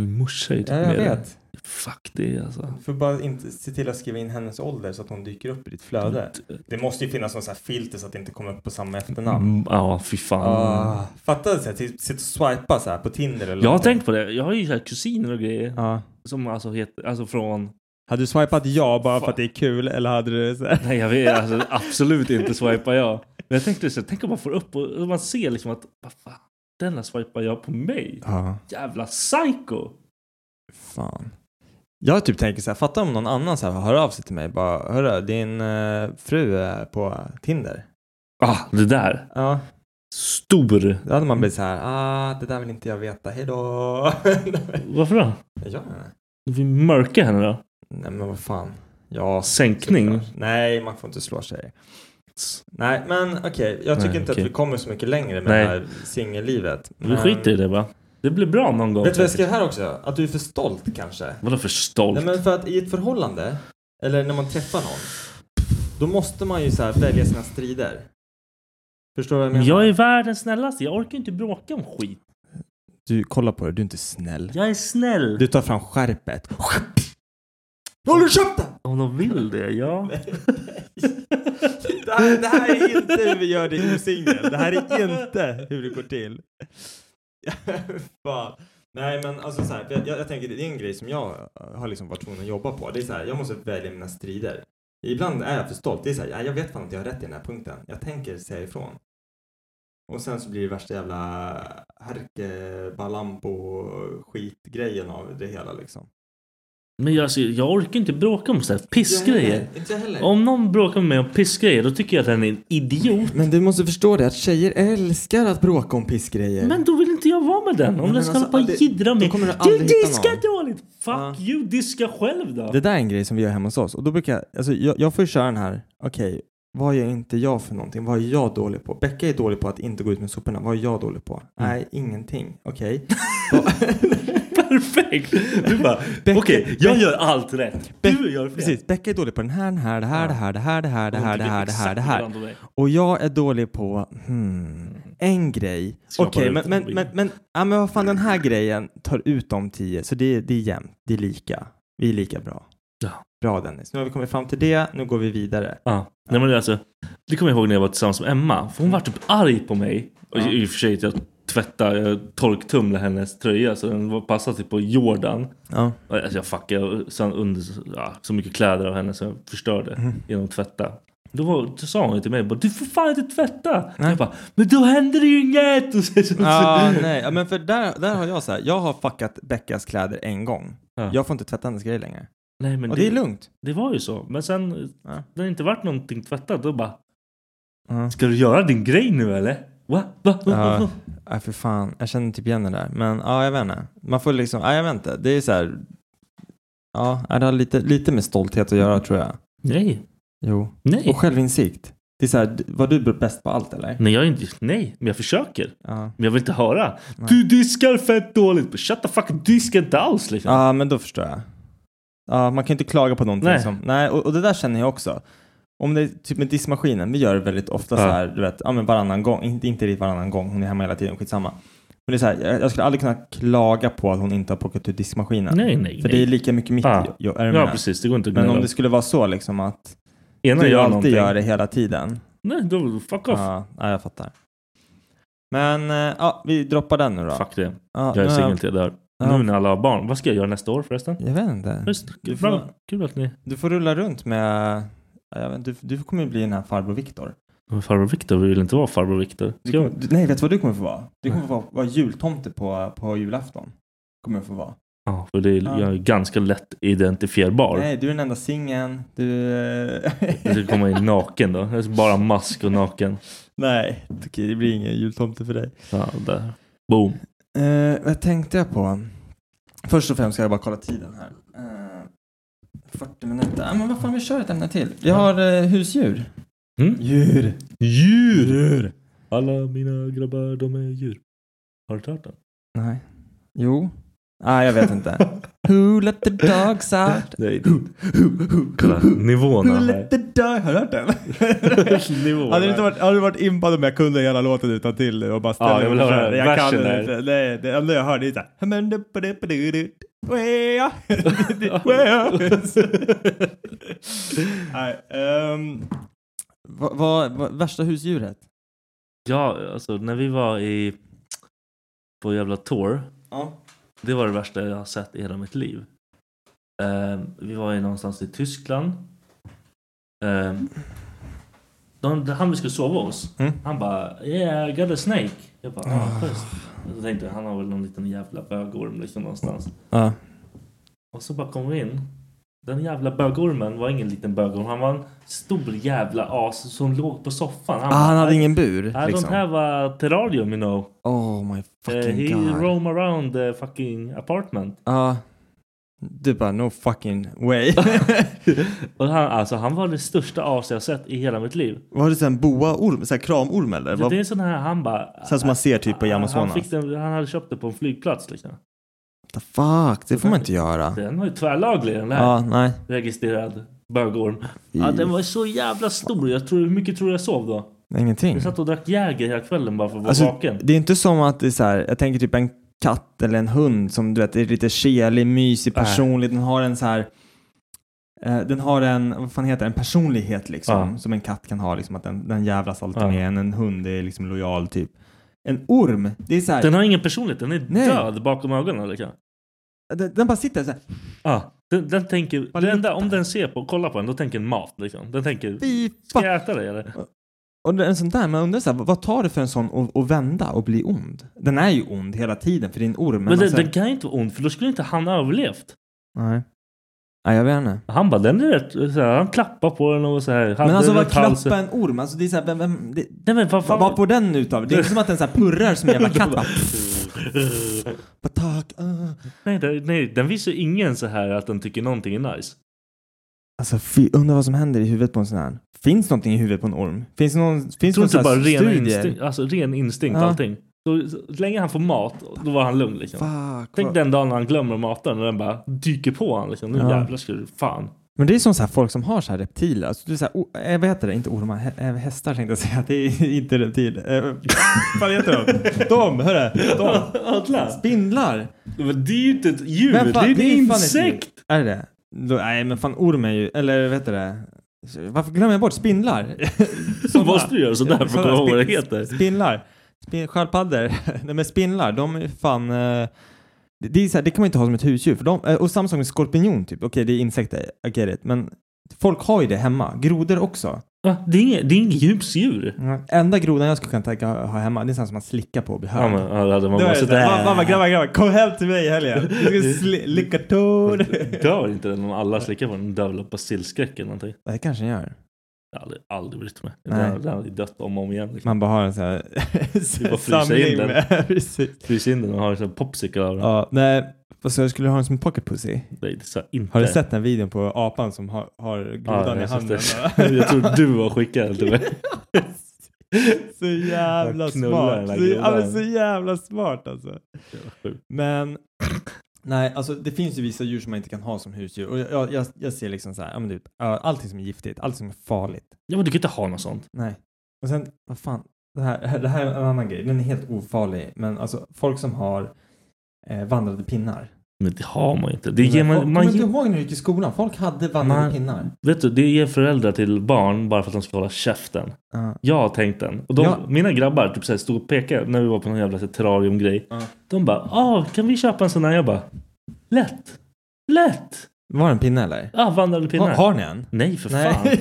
Speaker 4: Min morsa är ju typ
Speaker 2: Ja, jag
Speaker 4: med
Speaker 2: vet.
Speaker 4: det. Fuck det alltså.
Speaker 2: För bara inte se till att skriva in hennes ålder så att hon dyker upp i ditt flöde. Det måste ju finnas någon sån här filter så att det inte kommer upp på samma efternamn.
Speaker 4: Mm, Ja, fy fan.
Speaker 2: Ah, fattar du? Så här, typ, sitta och swipa så här på Tinder eller
Speaker 4: Jag har
Speaker 2: någonting.
Speaker 4: tänkt på det. Jag har ju så här kusiner och grejer.
Speaker 2: Ja.
Speaker 4: Som alltså heter, alltså från...
Speaker 2: Hade du swipat ja bara för
Speaker 4: Fan.
Speaker 2: att det är kul eller hade du så här?
Speaker 4: Nej jag vet, alltså, absolut inte swipar jag. Men jag tänkte så här, tänk om man får upp och och man ser liksom att, vad fan, denna swipar jag på mig.
Speaker 2: Ja,
Speaker 4: Jävla psycho!
Speaker 2: fan. Jag typ tänker så här, fatta om någon annan så här hör av sig till mig bara, hörru, din eh, fru är på Tinder.
Speaker 4: Ah, det där.
Speaker 2: Ja,
Speaker 4: Stor.
Speaker 2: då hade man blivit så här, ah, det där vill inte jag veta, hejdå.
Speaker 4: Varför då?
Speaker 2: ja.
Speaker 4: Vi mörkar henne då?
Speaker 2: Nej men vad fan. Ja,
Speaker 4: Sänkning?
Speaker 2: Såklart. Nej, man får inte slå sig. Nej, men okej. Jag tycker
Speaker 4: Nej,
Speaker 2: inte
Speaker 4: okej.
Speaker 2: att vi kommer så mycket längre med
Speaker 4: Nej.
Speaker 2: det här singellivet.
Speaker 4: Vi skiter i det va? Det blir bra någon gång.
Speaker 2: Vet du vad jag skrev
Speaker 4: säkert.
Speaker 2: här också? Att du är för stolt kanske.
Speaker 4: Vadå för stolt?
Speaker 2: Nej, men för att i ett förhållande, eller när man träffar någon, då måste man ju så här välja sina strider. Förstår du vad jag
Speaker 4: Men
Speaker 2: menar?
Speaker 4: jag är världens snällaste. Jag orkar inte bråka om skit.
Speaker 2: Du, kolla på det. Du är inte snäll.
Speaker 4: Jag är snäll.
Speaker 2: Du tar fram skärpet. Håller käften!
Speaker 4: Om de vill det, ja.
Speaker 2: Det här, det här är inte hur vi gör det osingel. Det här är inte hur det går till. Fan. Nej, men alltså så här, jag, jag, jag tänker det är en grej som jag har liksom varit tvungen att jobba på. Det är så här, jag måste välja mina strider. Ibland är jag för stolt. Det är så här, "Ja, jag vet fan att jag har rätt i den här punkten. Jag tänker säga ifrån. Och sen så blir det värsta jävla härkebalampo-skitgrejen av det hela liksom.
Speaker 4: Men jag, alltså, jag orkar inte bråka om sådär pissgrejer.
Speaker 2: Inte jag heller.
Speaker 4: Om någon bråkar med mig om pissgrejer då tycker jag att han är en idiot.
Speaker 2: Men du måste förstå det att tjejer älskar att bråka om pissgrejer.
Speaker 4: Men då vill inte jag vara med den. Om
Speaker 2: men
Speaker 4: den ska hålla
Speaker 2: alltså,
Speaker 4: på och
Speaker 2: aldrig-
Speaker 4: jiddra
Speaker 2: då
Speaker 4: med.
Speaker 2: kommer du
Speaker 4: Du
Speaker 2: aldrig hitta någon."
Speaker 4: diskar dåligt! Fuck
Speaker 2: Ja.
Speaker 4: you, diska själv då!
Speaker 2: Det där är en grej som vi gör hemma hos oss. Och då brukar jag, alltså, jag, jag får ju köra den här, okej, vad är inte jag för någonting? Vad är jag dålig på? Becka är dålig på att inte gå ut med soporna. Vad är jag dålig på?
Speaker 4: Mm.
Speaker 2: Nej, ingenting. Okej.
Speaker 4: Perfekt! Du bara,
Speaker 2: Bäck-
Speaker 4: okej, jag
Speaker 2: bäck-
Speaker 4: gör allt rätt. Du gör fel.
Speaker 2: Precis, Becka är dålig på den här, den här, det här, det här, det här, det här, det här, det här, det här, det här.
Speaker 4: Hon tycker exakt likadant Mm. om dig.
Speaker 2: Och jag är dålig på, hmm, en grej.
Speaker 4: Skrapa
Speaker 2: Okej,
Speaker 4: ut
Speaker 2: men,
Speaker 4: den
Speaker 2: men,
Speaker 4: på
Speaker 2: men,
Speaker 4: bilden.
Speaker 2: men, ja, men vad fan, den här grejen tar ut de tio, så det, det är jämnt, det är lika. Vi är lika bra.
Speaker 4: Ja.
Speaker 2: Bra Dennis, nu har vi kommit fram till det, nu går vi vidare.
Speaker 4: Ja. Nej, men det, är alltså, det kommer jag ihåg när jag var tillsammans med Emma. För hon var typ arg på mig. Och i, I och för sig att jag tvättade, jag torktumlade hennes tröja så den var- passade typ på Jordan.
Speaker 2: Ja.
Speaker 4: Alltså jag fuckade sen under ja, så mycket kläder av henne så jag förstörde
Speaker 2: Mm.
Speaker 4: genom att tvätta. Då, var, då sa hon ju till mig bara, du får fan inte tvätta! Jag bara, men då händer det ju inget! Och så, så, så.
Speaker 2: Ja, Ah, nej, ja, men för där, där har jag så här, jag har fuckat Beckas kläder en gång.
Speaker 4: Ja.
Speaker 2: Jag får inte tvätta hennes grejer längre.
Speaker 4: Nej men
Speaker 2: Och
Speaker 4: det,
Speaker 2: det är lugnt.
Speaker 4: det var ju så. Men sen
Speaker 2: Ja.
Speaker 4: när det inte vart någonting tvättat då bara,
Speaker 2: Ja.
Speaker 4: ska du göra din grej nu eller? Va? Va? Va? Va?
Speaker 2: Ja, ja, för fan. Jag känner typ igen det där. Men ja, jag vet inte. Man får liksom, ja, jag vet inte. Det är så här, ja, det har lite, lite med stolthet att göra tror jag.
Speaker 4: Nej.
Speaker 2: Jo.
Speaker 4: Nej.
Speaker 2: Och självinsikt. Det är så här, var du bäst på allt eller?
Speaker 4: Nej, jag är inte, nej, men jag försöker.
Speaker 2: Ja.
Speaker 4: Men jag vill inte höra. Du diskar fett dåligt. Shut the fuck, diska inte alls liksom.
Speaker 2: Ja, men då förstår jag. Ja, man kan ju inte klaga på någonting
Speaker 4: Nej.
Speaker 2: som... Nej, och, och det där känner jag också. Om det är typ med diskmaskinen, vi gör det väldigt ofta
Speaker 4: Ja.
Speaker 2: så här, du vet, ja men varannan gång, inte, inte riktigt varannan gång, hon är hemma hela tiden, skitsamma. Men det är så här, jag, jag skulle aldrig kunna klaga på att hon inte har plockat ut diskmaskinen.
Speaker 4: Nej, nej,
Speaker 2: För
Speaker 4: nej.
Speaker 2: det är lika mycket mitt
Speaker 4: Ja.
Speaker 2: jobb, är du
Speaker 4: ja,
Speaker 2: med?
Speaker 4: precis. Det går inte att
Speaker 2: Men om
Speaker 4: gnälla.
Speaker 2: det skulle vara så liksom att
Speaker 4: Ena
Speaker 2: du
Speaker 4: gör
Speaker 2: alltid
Speaker 4: någonting.
Speaker 2: gör det hela tiden.
Speaker 4: Nej, då fuck off.
Speaker 2: Ja, ja, jag fattar. Men eh, ja, vi droppar den nu då.
Speaker 4: Fuck det.
Speaker 2: Ja,
Speaker 4: Jag är
Speaker 2: nu har
Speaker 4: singel till jag dör.
Speaker 2: Ja.
Speaker 4: Nu när alla har barn. Vad ska jag göra nästa år förresten?
Speaker 2: Jag vet inte.
Speaker 4: Just,
Speaker 2: Du får-
Speaker 4: bra. Kul att ni...
Speaker 2: Du får rulla runt med, ja, jag vet, du, du kommer ju bli den här farbror Viktor.
Speaker 4: Men Farbror Viktor vill inte vara farbror Viktor.
Speaker 2: Du,
Speaker 4: Ska jag-
Speaker 2: kommer- du, nej, vet du vad du kommer få vara? Du kommer få vara, vara jultomte på, på julafton. Kommer du få vara.
Speaker 4: Ja, för det är,
Speaker 2: Ja.
Speaker 4: jag är ganska lätt identifierbar.
Speaker 2: Nej, du är den enda singeln. Du...
Speaker 4: Jag ska komma in naken då. Jag ska bara ha mask och naken.
Speaker 2: nej, okej, det blir ingen jultomte för dig.
Speaker 4: Ja, där. Boom.
Speaker 2: Eh, vad tänkte jag på? Först och främst ska jag bara kolla tiden här. Eh, 40 minuter. Ah, men vad fan, vi kör ett ämne till. Vi har eh, husdjur.
Speaker 4: Mm.
Speaker 2: Djur.
Speaker 4: Djur! Alla mina grabbar, de är djur. Har du inte hört den?
Speaker 2: Nej. Jo. Nej, ah, jag vet inte. Who let the dogs out?
Speaker 4: Nej.
Speaker 2: Kolla,
Speaker 4: Kolla nivån
Speaker 2: Who
Speaker 4: här.
Speaker 2: let the dog... Har du hört den?
Speaker 4: Nivån
Speaker 2: Hade du
Speaker 4: här.
Speaker 2: inte varit, hade du varit impad om jag kunde hela låten utan till och bara ställa
Speaker 4: Ja, jag vill
Speaker 2: mig
Speaker 4: höra
Speaker 2: fram? Jag kan
Speaker 4: versen
Speaker 2: den
Speaker 4: där.
Speaker 2: inte. Nej, det enda jag hörde är såhär... "Men du- ba- du- ba- du- du- wea." Wea. Nej, ehm, vad vad- vad- värsta husdjuret?
Speaker 4: Ja, alltså när vi var i... På jävla tour.
Speaker 2: Ja.
Speaker 4: Det var det värsta jag har sett i hela mitt liv. Eh, vi var ju någonstans i Tyskland. Eh, de, de- han vi skulle sova hos,
Speaker 2: Mm.
Speaker 4: han bara “Yeah, I got a snake”. Jag bara ah, schysst." Och Så tänkte jag, han har väl någon liten jävla bögorm liksom någonstans.
Speaker 2: Ja.
Speaker 4: Och så bara kom vi in. Den jävla bögormen var ingen liten bögorm, han var en stor jävla as som låg på soffan. Han
Speaker 2: Ah, han hade ingen bur
Speaker 4: I don't
Speaker 2: liksom.
Speaker 4: have a terrarium you know.
Speaker 2: Oh my
Speaker 4: Eh,
Speaker 2: fucking
Speaker 4: he
Speaker 2: god.
Speaker 4: roam around the fucking apartment.
Speaker 2: Ja. Du bara no fucking way.
Speaker 4: Och han, alltså, han var det största as jag sett i hela mitt liv.
Speaker 2: Var det sån boaorm, sån här kramorm eller?
Speaker 4: Det, det är en sån här han bara...
Speaker 2: Sån som man ser typ på Amazonas.
Speaker 4: Han, fick den, han hade köpt det på en flygplats liksom.
Speaker 2: The fuck, det får man inte göra.
Speaker 4: Den var ju tvärlaglig den där.
Speaker 2: Ja, nej.
Speaker 4: Registrerad bögorm. Ja, den var så jävla stor. Jag tror, hur mycket tror du jag sov då?
Speaker 2: Ingenting.
Speaker 4: Jag satt och drack Jäger hela kvällen bara för att vara
Speaker 2: Alltså,
Speaker 4: vaken.
Speaker 2: det är inte som att det är så här, jag tänker typ en katt eller en hund som du vet är lite kelig, mysig,
Speaker 4: Nej.
Speaker 2: personlig. Den har en så här, eh, den har en, vad fan heter det, en personlighet liksom.
Speaker 4: Ja.
Speaker 2: Som en katt kan ha liksom, att den, den jävlas alltid
Speaker 4: Ja.
Speaker 2: med en. En hund är liksom lojal typ. En orm, det är så här,
Speaker 4: Den
Speaker 2: den,
Speaker 4: har ingen personlighet, den är
Speaker 2: Nej.
Speaker 4: död bakom ögonen. Liksom.
Speaker 2: den, bara sitter så här.
Speaker 4: Ah, den, den tänker,
Speaker 2: Bara
Speaker 4: det enda,
Speaker 2: luktar.
Speaker 4: om den ser på, kollar på en, då tänker den mat. Liksom. Den tänker,
Speaker 2: Fy
Speaker 4: ska
Speaker 2: fan.
Speaker 4: jag äta dig eller?
Speaker 2: Och det är en sån där, man undrar så här, vad tar det för en sån att, att vända och bli ond? Den är ju ond hela tiden för det är en orm. Men,
Speaker 4: Men
Speaker 2: man
Speaker 4: den,
Speaker 2: så här-
Speaker 4: den kan ju inte vara ond, för då skulle inte han ha överlevt.
Speaker 2: Nej. Nej, jag vet inte.
Speaker 4: Han bara, den är rätt, så här, han klappar på den och så här. hade
Speaker 2: Men alltså
Speaker 4: den
Speaker 2: vad
Speaker 4: runt halsen.
Speaker 2: klappa en orm, alltså det är så här, vem, vem, det,
Speaker 4: Nej men vad
Speaker 2: vad
Speaker 4: fan.
Speaker 2: vad får den utav? Det är inte som att den så här purrar som en jävla katt. bara, bara, tack, ah.
Speaker 4: nej, den- nej, den visar ju ingen så här att den tycker någonting är nice.
Speaker 2: Alltså fy, undrar vad som händer i huvudet på en sån här. Finns någonting i huvudet på en orm? Finns det någon,
Speaker 4: Jag
Speaker 2: finns det
Speaker 4: tror
Speaker 2: någon
Speaker 4: inte
Speaker 2: sån
Speaker 4: bara
Speaker 2: här
Speaker 4: ren
Speaker 2: studie?
Speaker 4: instinkt, alltså, ren instinkt
Speaker 2: Ja.
Speaker 4: allting. Så, så länge han får mat, då var han lugn liksom.
Speaker 2: Fuck.
Speaker 4: Tänk
Speaker 2: vad-
Speaker 4: den dagen när han glömmer att mata den och den bara dyker på honom liksom. Nu
Speaker 2: Ja.
Speaker 4: jävlar ska du fan.
Speaker 2: Men det är som så här folk som har så här reptiler. Alltså, det är så här, o- eh, vad heter det? Inte ormar, hä- eh, hästar tänkte jag säga. Det är inte reptiler. Eh, vad heter de? De, hörru! De.
Speaker 4: Ödla!
Speaker 2: Spindlar!
Speaker 4: Men Det är ju inte ett djur,
Speaker 2: Men fan,
Speaker 4: det är en
Speaker 2: ju fan ett djur.
Speaker 4: insekt!
Speaker 2: Är det det Då, Nej men fan orm är ju, eller vad heter det? Varför glömmer jag bort spindlar?
Speaker 4: Så måste du göra sådär för att komma
Speaker 2: Sådana
Speaker 4: ihåg vad det
Speaker 2: spin-
Speaker 4: heter.
Speaker 2: Spindlar. Spin, sköldpaddor. Nej men spindlar, de är ju fan... eh, Det, det, är så här, det kan man inte ha som ett husdjur. För de, eh, och samma sak med skorpion typ. Okej det är insekter, I get it. Men folk har ju det hemma. Grodor också. Mm.
Speaker 4: Va? Det är inget, det är inget husdjur.
Speaker 2: Enda grodan jag skulle kunna tänka ha hemma, det är en sån som man slickar på och blir
Speaker 4: Ja,
Speaker 2: hörd.
Speaker 4: men, ja, då hade man
Speaker 2: Då
Speaker 4: bara
Speaker 2: är det så här,
Speaker 4: sådär.
Speaker 2: Mamma, grabbar, grabbar, kom hem till mig i helgen. Vi ska sli- licka tår.
Speaker 4: Dör inte den om alla slickar på den? Dör väl av basilskräck eller någonting?
Speaker 2: Det kanske den gör.
Speaker 4: Jag hade aldrig brytt mig.
Speaker 2: Nej.
Speaker 4: Den den hade ju dött om och om igen. Liksom.
Speaker 2: Man bara har en sån här
Speaker 4: bara frysa
Speaker 2: samling
Speaker 4: in den.
Speaker 2: med. Precis.
Speaker 4: Frys in den och har en sån här popsicle av den.
Speaker 2: Ja, nej. Alltså, jag skulle ha den som pocket pussy.
Speaker 4: Nej, det sa jag inte.
Speaker 2: Har du sett den videon på apan som har, har
Speaker 4: Ja,
Speaker 2: grodan
Speaker 4: jag
Speaker 2: i
Speaker 4: har sett
Speaker 2: handen?
Speaker 4: det. Jag tror du har skickat den till mig.
Speaker 2: så jävla
Speaker 4: Jag knullar den där
Speaker 2: smart. Så, ja, men
Speaker 4: grodan.
Speaker 2: så jävla smart alltså.
Speaker 4: Det var sjukt.
Speaker 2: Men nej, alltså det finns ju vissa djur som man inte kan ha som husdjur. Och jag, jag, jag, jag ser liksom så här, ja, men typ, ja, allting som är giftigt, allt som är farligt.
Speaker 4: Ja men du kan inte ha något sånt.
Speaker 2: Nej. Och sen, vad fan. Det här, det här är en annan grej. Den är helt ofarlig. Men alltså folk som har eh, vandrade pinnar.
Speaker 4: Men det har man ju inte. Det ger man,
Speaker 2: Folk-
Speaker 4: man
Speaker 2: Kommer du
Speaker 4: ger,
Speaker 2: inte ihåg när du gick i skolan? Folk hade vandrade
Speaker 4: Man-
Speaker 2: pinnar.
Speaker 4: vet du, det ger föräldrar till barn bara för att de ska hålla käften.
Speaker 2: Ja.
Speaker 4: Jag har tänkt den. Och de,
Speaker 2: Ja.
Speaker 4: Mina grabbar typ så här stod och pekade när vi var på någon jävla så här terrariumgrej.
Speaker 2: Ja.
Speaker 4: De bara ah, kan vi köpa en sån här? Jag bara lätt! Lätt!
Speaker 2: Var det en pinne eller?
Speaker 4: Ah, vandrade pinnar.
Speaker 2: Har, har ni en?
Speaker 4: Nej för fan!
Speaker 2: Nej.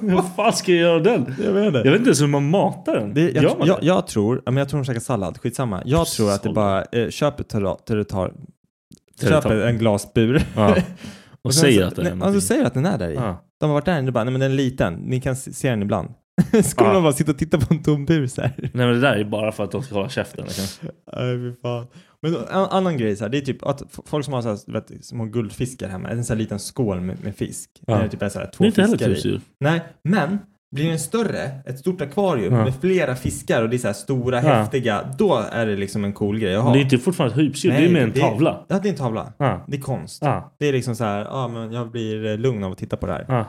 Speaker 4: Hur fan ska jag göra den?
Speaker 2: jag vet
Speaker 4: Jag vet inte ens hur man matar den.
Speaker 2: Det,
Speaker 4: Gör
Speaker 2: jag,
Speaker 4: man
Speaker 2: jag,
Speaker 4: det?
Speaker 2: jag tror, ja, men jag tror de käkar sallad, skitsamma. Jag tror att det bara, eh, köp ett terra- territar,
Speaker 4: Territar.
Speaker 2: köp en glasbur.
Speaker 4: Ja. Och,
Speaker 2: sen
Speaker 4: säger
Speaker 2: så-
Speaker 4: att den
Speaker 2: nej,
Speaker 4: är
Speaker 2: Alltså
Speaker 4: någonting.
Speaker 2: säger att den är där i.
Speaker 4: Ja.
Speaker 2: De har varit där inne och bara, nej men den är liten, ni kan se se den ibland. Skulle
Speaker 4: Ja.
Speaker 2: de bara sitta och titta på en tom bur så här?
Speaker 4: Nej men det där är bara för att de ska hålla käften. liksom.
Speaker 2: Nej, fy fan. Men en annan grej, så här, det är typ att f- folk som har så här, du vet, små guldfiskar hemma, en sån här liten skål med, med fisk.
Speaker 4: Ja.
Speaker 2: Där det typ är så här,
Speaker 4: Det
Speaker 2: två
Speaker 4: är inte heller typ
Speaker 2: fiskar
Speaker 4: ett
Speaker 2: i.
Speaker 4: husdjur.
Speaker 2: Nej, men blir den större, ett stort akvarium
Speaker 4: Ja.
Speaker 2: med flera fiskar och det är så här
Speaker 4: Ja.
Speaker 2: stora, häftiga, då är det liksom en cool grej att
Speaker 4: Men
Speaker 2: ha.
Speaker 4: Det är inte fortfarande ett husdjur, det är mer en tavla.
Speaker 2: Ja, det är en tavla.
Speaker 4: Ja.
Speaker 2: Det är konst.
Speaker 4: Ja.
Speaker 2: Det är liksom så här, ja men jag blir eh, lugn av att titta på det här.
Speaker 4: Ja.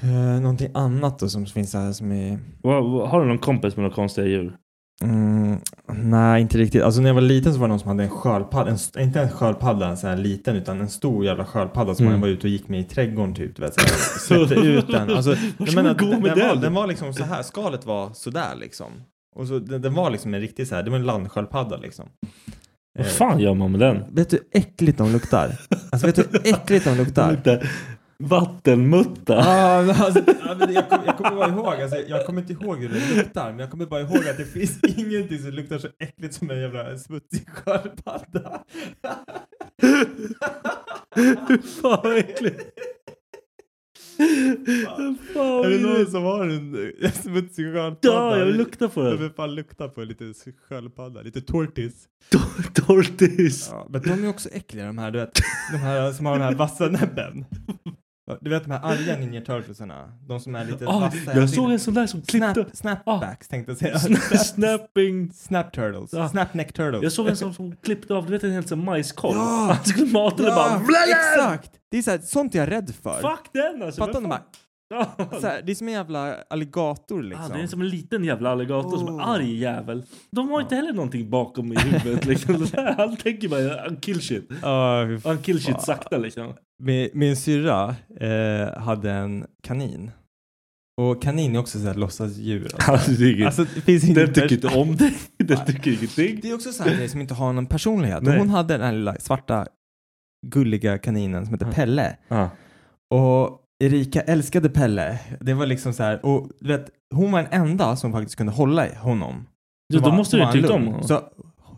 Speaker 2: Eh, någonting annat då som finns så här som är...
Speaker 4: Vad- vad- Har du någon kompis med några konstiga djur?
Speaker 2: Mm, nej, inte riktigt. Alltså när jag var liten så var det någon som hade en sköldpadda, en, st- inte en sköldpadda en sån här liten utan en stor jävla sköldpadda som
Speaker 4: Mm.
Speaker 2: man var ute och gick med i trädgården typ. Du vet, så här, släppte ut den. Alltså,
Speaker 4: Vad
Speaker 2: Jag
Speaker 4: ska man
Speaker 2: menar,
Speaker 4: gå
Speaker 2: den,
Speaker 4: med
Speaker 2: den, var,
Speaker 4: den?
Speaker 2: den var liksom så här, skalet var sådär liksom. Och så, den, den var liksom en riktig så här, det var en landsköldpadda liksom.
Speaker 4: Vad
Speaker 2: Eh,
Speaker 4: fan gör man med den?
Speaker 2: Vet du hur äckligt de luktar? Alltså vet du hur äckligt de luktar?
Speaker 4: Lite Vattenmutta.
Speaker 2: Ah, men alltså, ja, men jag, kom, jag kommer bara ihåg, alltså, jag kommer inte ihåg hur det luktar, men jag kommer bara ihåg att det finns ingenting som luktar så äckligt som en jävla smutsig sköldpadda.
Speaker 4: Fan vad äckligt. Fan vad
Speaker 2: Är det
Speaker 4: vidrigt.
Speaker 2: någon som har en eh, smutsig sköldpadda?
Speaker 4: Ja, jag vill lukta på
Speaker 2: Jag
Speaker 4: den.
Speaker 2: vill fan lukta på lite sköldpadda, lite tortis.
Speaker 4: Tortis.
Speaker 2: Ja, men de är också äckliga de här, du vet, de här som har den här vassa näbben. Du vet de här arga Ninja Turtlesarna? De som är lite
Speaker 4: Ah,
Speaker 2: vassa. i
Speaker 4: jag såg
Speaker 2: ansiktet.
Speaker 4: en sån där som klippte.
Speaker 2: Snap, snapbacks tänkte jag säga.
Speaker 4: Sna- Snapping.
Speaker 2: Snap Turtles.
Speaker 4: Ja.
Speaker 2: Snapneck Turtles.
Speaker 4: Jag såg en sån som klippte av, du vet en hel sån majskorv.
Speaker 2: Ja.
Speaker 4: Han skulle mata den bara.
Speaker 2: Ja,
Speaker 4: "Vlaja!"
Speaker 2: exakt! Det är så här, sånt jag är rädd för.
Speaker 4: Fuck den alltså.
Speaker 2: Fattar ni?
Speaker 4: Vem
Speaker 2: bara,
Speaker 4: fan- Ja.
Speaker 2: Så här, det är som en jävla alligator liksom.
Speaker 4: Ah, det är som en liten jävla alligator som är
Speaker 2: Oh.
Speaker 4: arg jävel. De har inte heller någonting bakom i huvudet. Liksom. Han tänker bara "I'm kill shit.
Speaker 2: Ja, fy fan.
Speaker 4: Han kill shit sakta liksom.
Speaker 2: min, min syrra eh, hade en kanin. Och kanin är också så här låtsasdjur. Alltså.
Speaker 4: Alltså, det är inget-
Speaker 2: Alltså, det finns ingen
Speaker 4: Den tycker inte om dig. Den tycker ingenting.
Speaker 2: Det är också så här en grej som inte har någon personlighet.
Speaker 4: Nej.
Speaker 2: Hon hade den här lilla svarta gulliga kaninen som heter
Speaker 4: Mm.
Speaker 2: Pelle.
Speaker 4: Ja.
Speaker 2: Och Erika älskade Pelle. Det var liksom så här. Och du vet, hon var den enda som faktiskt kunde hålla i honom.
Speaker 4: Du,
Speaker 2: Som
Speaker 4: då
Speaker 2: var-
Speaker 4: måste
Speaker 2: som
Speaker 4: du
Speaker 2: var
Speaker 4: ju tyckt om
Speaker 2: lugn.
Speaker 4: honom.
Speaker 2: Så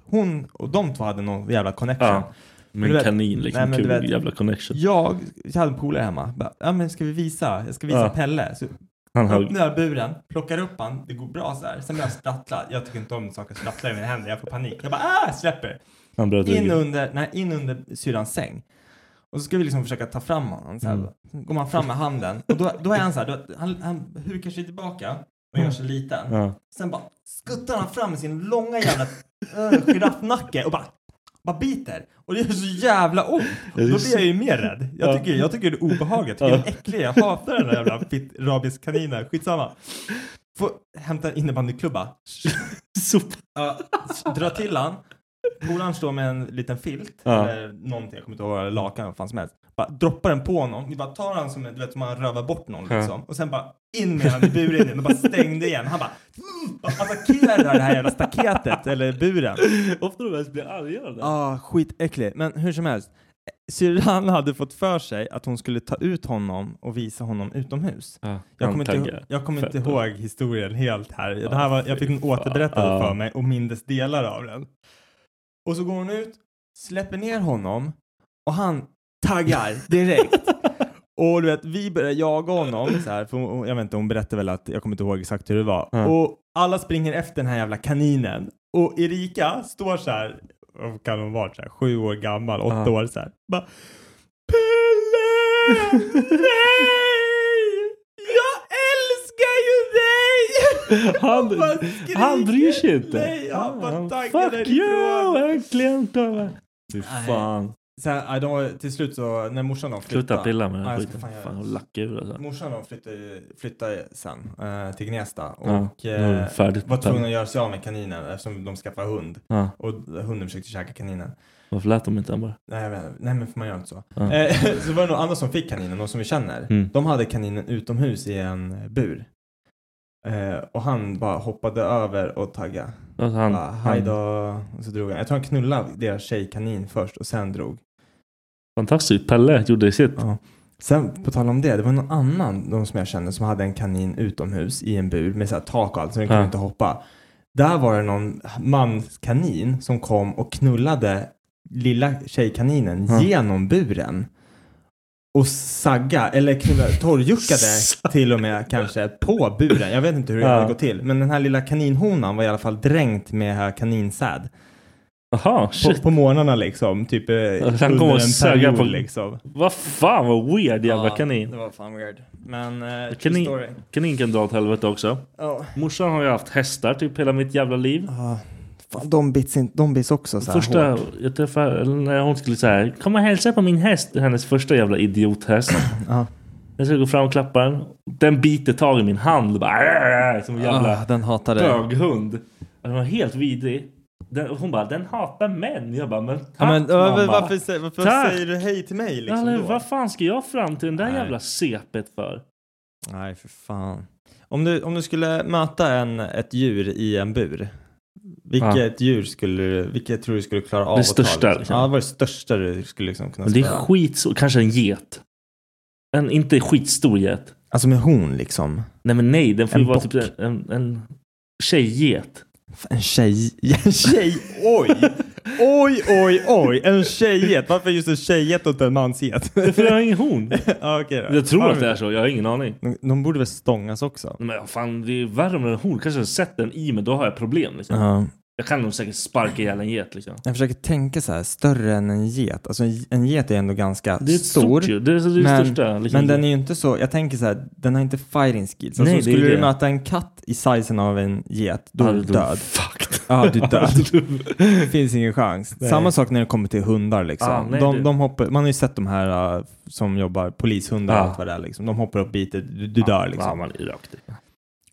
Speaker 2: hon och de två hade någon jävla connection.
Speaker 4: Ja. typ.
Speaker 2: Men du
Speaker 4: Men
Speaker 2: vet-
Speaker 4: kanin liksom.
Speaker 2: Nej, men du
Speaker 4: kul
Speaker 2: vet-
Speaker 4: jävla connection.
Speaker 2: Jag, jag hade en polare hemma. Bara, Ja men ska vi visa? Jag ska visa
Speaker 4: Ja.
Speaker 2: Pelle. Så
Speaker 4: Han högg.
Speaker 2: öppnar jag buren, plockar upp han. Det går bra så här. Sen blir jag sprattla. Jag tycker inte om när saker sprattlar i mina händer. Jag får panik. Jag bara ah, släpper.
Speaker 4: Han bröt
Speaker 2: In
Speaker 4: ryggen.
Speaker 2: under, nej, in under syrrans säng. Och så ska vi liksom försöka ta fram honom. Så här.
Speaker 4: Mm.
Speaker 2: Sen går man fram med handen och då, då är han så här, då, han, han hukar sig tillbaka och gör sig liten.
Speaker 4: Ja.
Speaker 2: Sen bara skuttar han fram med sin långa jävla uh, giraffnacke och bara, bara biter. Och det gör så jävla ont. Och då blir jag ju mer rädd. Jag
Speaker 4: Ja.
Speaker 2: tycker, jag tycker det är obehagligt. Jag tycker det är äckligt. Jag hatar den där jävla fitt- rabiskaninen. Skitsamma. Får hämta en innebandyklubba.
Speaker 4: Sopa.
Speaker 2: Ja, dra till han. Polaren står med en liten filt
Speaker 4: Ja.
Speaker 2: eller någonting, jag kommer inte ihåg, eller lakan vad fan som helst. Bara droppar den på honom, vi bara tar han som en- du vet som man rövar bort någon
Speaker 4: Ja.
Speaker 2: liksom. Och sen bara in med han i buren igen och bara stängde igen. Han bara, mm, bara attackerar det här jävla staketet eller buren.
Speaker 4: Ofta de ens blir arga de där.
Speaker 2: Ja, ah, skitäcklig. Men hur som helst. Syrran hade fått för sig att hon skulle ta ut honom och visa honom utomhus.
Speaker 4: Ja,
Speaker 2: Jag
Speaker 4: han
Speaker 2: kommer, inte,
Speaker 4: taggar.
Speaker 2: jag kommer inte
Speaker 4: Fett.
Speaker 2: ihåg historien helt här. Det här var, jag fick den
Speaker 4: fy fan.
Speaker 2: återberättad
Speaker 4: Ja.
Speaker 2: för mig och mindes delar av den. Och så går hon ut, släpper ner honom och han taggar direkt. och du vet, vi börjar jaga honom så här, för hon, jag vet inte, hon berättade väl att jag kommer inte ihåg exakt hur det var.
Speaker 4: Ja.
Speaker 2: Och alla springer efter den här jävla kaninen och Erika står så här, vad kan hon vara, så här, sju år gammal, åtta
Speaker 4: Ja.
Speaker 2: år så här, bara Pelle! Nej! Jag älskar ju dig!
Speaker 4: Han-
Speaker 2: Och bara skriker.
Speaker 4: Han bryr sig inte.
Speaker 2: Nej, han bara
Speaker 4: Ja,
Speaker 2: taggar
Speaker 4: Fuck
Speaker 2: därifrån.
Speaker 4: you! Äntligen tar jag. Fy fan.
Speaker 2: Sen, ja, de var, till slut så, när morsan då flyttade.
Speaker 4: Sluta pilla med den
Speaker 2: Ja,
Speaker 4: här
Speaker 2: jag ska
Speaker 4: skiten.
Speaker 2: fan göra
Speaker 4: Fan,
Speaker 2: det.
Speaker 4: jag lackar ur alltså.
Speaker 2: Morsan då flyttade, ju- flyttade ju sen eh, till Gnesta
Speaker 4: Ja,
Speaker 2: och
Speaker 4: nu är
Speaker 2: eh,
Speaker 4: det färdigt.
Speaker 2: var tvungen att göra sig av med kaninen eftersom de skaffade hund.
Speaker 4: Ja,
Speaker 2: Och hunden försökte käka kaninen.
Speaker 4: varför lät de inte han bara?
Speaker 2: Nej, jag vet- nej men för man gör inte så.
Speaker 4: Ja.
Speaker 2: Eh, så var det någon annan som fick kaninen, någon som vi känner.
Speaker 4: Mm.
Speaker 2: De hade kaninen utomhus i en bur. Eh, och han bara hoppade över och taggade.
Speaker 4: Alltså, han,
Speaker 2: Bara, Hej då. Och så drog han. Jag tror han knullade deras tjejkanin först och sen drog.
Speaker 4: Fantastiskt. Pelle gjorde sitt.
Speaker 2: Ja. Sen på tal om det, det var någon annan, någon som jag kände, som hade en kanin utomhus i en bur med så här tak och allt så den kunde
Speaker 4: Ja.
Speaker 2: inte hoppa. Där var det någon manskanin som kom och knullade lilla tjejkaninen
Speaker 4: Ja.
Speaker 2: genom buren. Och sagga, eller knullade, torrjuckade till och med kanske på buren. Jag vet inte hur det
Speaker 4: Ja.
Speaker 2: hade gått till. Men den här lilla kaninhonan var i alla fall dränkt med här kaninsäd.
Speaker 4: Jaha,
Speaker 2: På,
Speaker 4: shit.
Speaker 2: på morgnarna liksom, typ eh,
Speaker 4: kom
Speaker 2: under
Speaker 4: och
Speaker 2: en
Speaker 4: sög
Speaker 2: period
Speaker 4: på-
Speaker 2: liksom.
Speaker 4: Vad fan vad weird jävla
Speaker 2: Ja,
Speaker 4: kanin.
Speaker 2: Det var fan weird. Men uh, true
Speaker 4: Kanin-
Speaker 2: story.
Speaker 4: Kanin kan dra åt helvete också.
Speaker 2: Ja.
Speaker 4: Morsan har ju haft hästar typ hela mitt jävla liv.
Speaker 2: fan, de bits, in, de bits också så här
Speaker 4: Första
Speaker 2: hårt.
Speaker 4: jag träffade, eller när hon skulle säga Kom och hälsa på min häst. Hennes första jävla idiothäst.
Speaker 2: Ja.
Speaker 4: Jag skulle gå fram och klappa den. Den biter tag i min hand. och Bara, "Arr!" som en jävla
Speaker 2: Ah, den hatade
Speaker 4: böghund. Den var helt vidrig. Den, och hon bara, den hatar män. Jag bara, men tack
Speaker 2: Ja, men,
Speaker 4: mamma.
Speaker 2: varför varför, sä- varför
Speaker 4: Tack.
Speaker 2: säger du hej till mig liksom
Speaker 4: Eller,
Speaker 2: då?
Speaker 4: vad fan ska jag fram till den där
Speaker 2: Nej.
Speaker 4: jävla sepet för?
Speaker 2: Nej, för fan. Om du, om du skulle möta en, ett djur i en bur, vilket djur skulle du, vilket tror du skulle klara av
Speaker 4: Det
Speaker 2: att ta,
Speaker 4: största,
Speaker 2: Liksom?
Speaker 4: liksom.
Speaker 2: Ja, vad är det största du skulle liksom kunna
Speaker 4: Men det är
Speaker 2: spöa?
Speaker 4: skit så, kanske en get. En inte skitstor get.
Speaker 2: Alltså med horn liksom.
Speaker 4: Nej men nej, den får ju
Speaker 2: En
Speaker 4: vara
Speaker 2: bock.
Speaker 4: typ en, en, en tjejget.
Speaker 2: Fan, En tjej... En tjej... Oj! Oj, oj, oj! En tjejget. Varför just en tjejget och inte en mansget?
Speaker 4: För den har ingen horn.
Speaker 2: Ja, Okej då.
Speaker 4: Jag tror
Speaker 2: Har
Speaker 4: att
Speaker 2: vi
Speaker 4: det är så, jag har ingen aning.
Speaker 2: De, de borde väl stångas också?
Speaker 4: Nej, Men fan, det är värre om den har horn. Kanske jag sätter den i mig, då har jag problem. Liksom.
Speaker 2: Ja.
Speaker 4: Jag kan nog säkert sparka ihjäl en get. Liksom.
Speaker 2: Jag försöker tänka så här, större än en get. Alltså en, en get är ändå ganska
Speaker 4: Det är ett
Speaker 2: stor.
Speaker 4: stort djur. Det är det, är det
Speaker 2: men-
Speaker 4: största. Liksom.
Speaker 2: Men den är ju inte så, jag tänker så här, den har inte fighting skills. Alltså,
Speaker 4: Nej, det är
Speaker 2: skulle du
Speaker 4: det.
Speaker 2: möta en katt i sizen av en get, då är du död.
Speaker 4: Fucked.
Speaker 2: Ja, du är död. Det finns ingen chans.
Speaker 4: Nej.
Speaker 2: Samma sak när det kommer till hundar liksom.
Speaker 4: Ah, nej,
Speaker 2: de,
Speaker 4: det-
Speaker 2: de hoppar, man har ju sett de här uh, som jobbar, polishundar och
Speaker 4: Ah.
Speaker 2: allt vad det är liksom. De hoppar upp biter, du, du dör liksom.
Speaker 4: Ja, man är rakt i.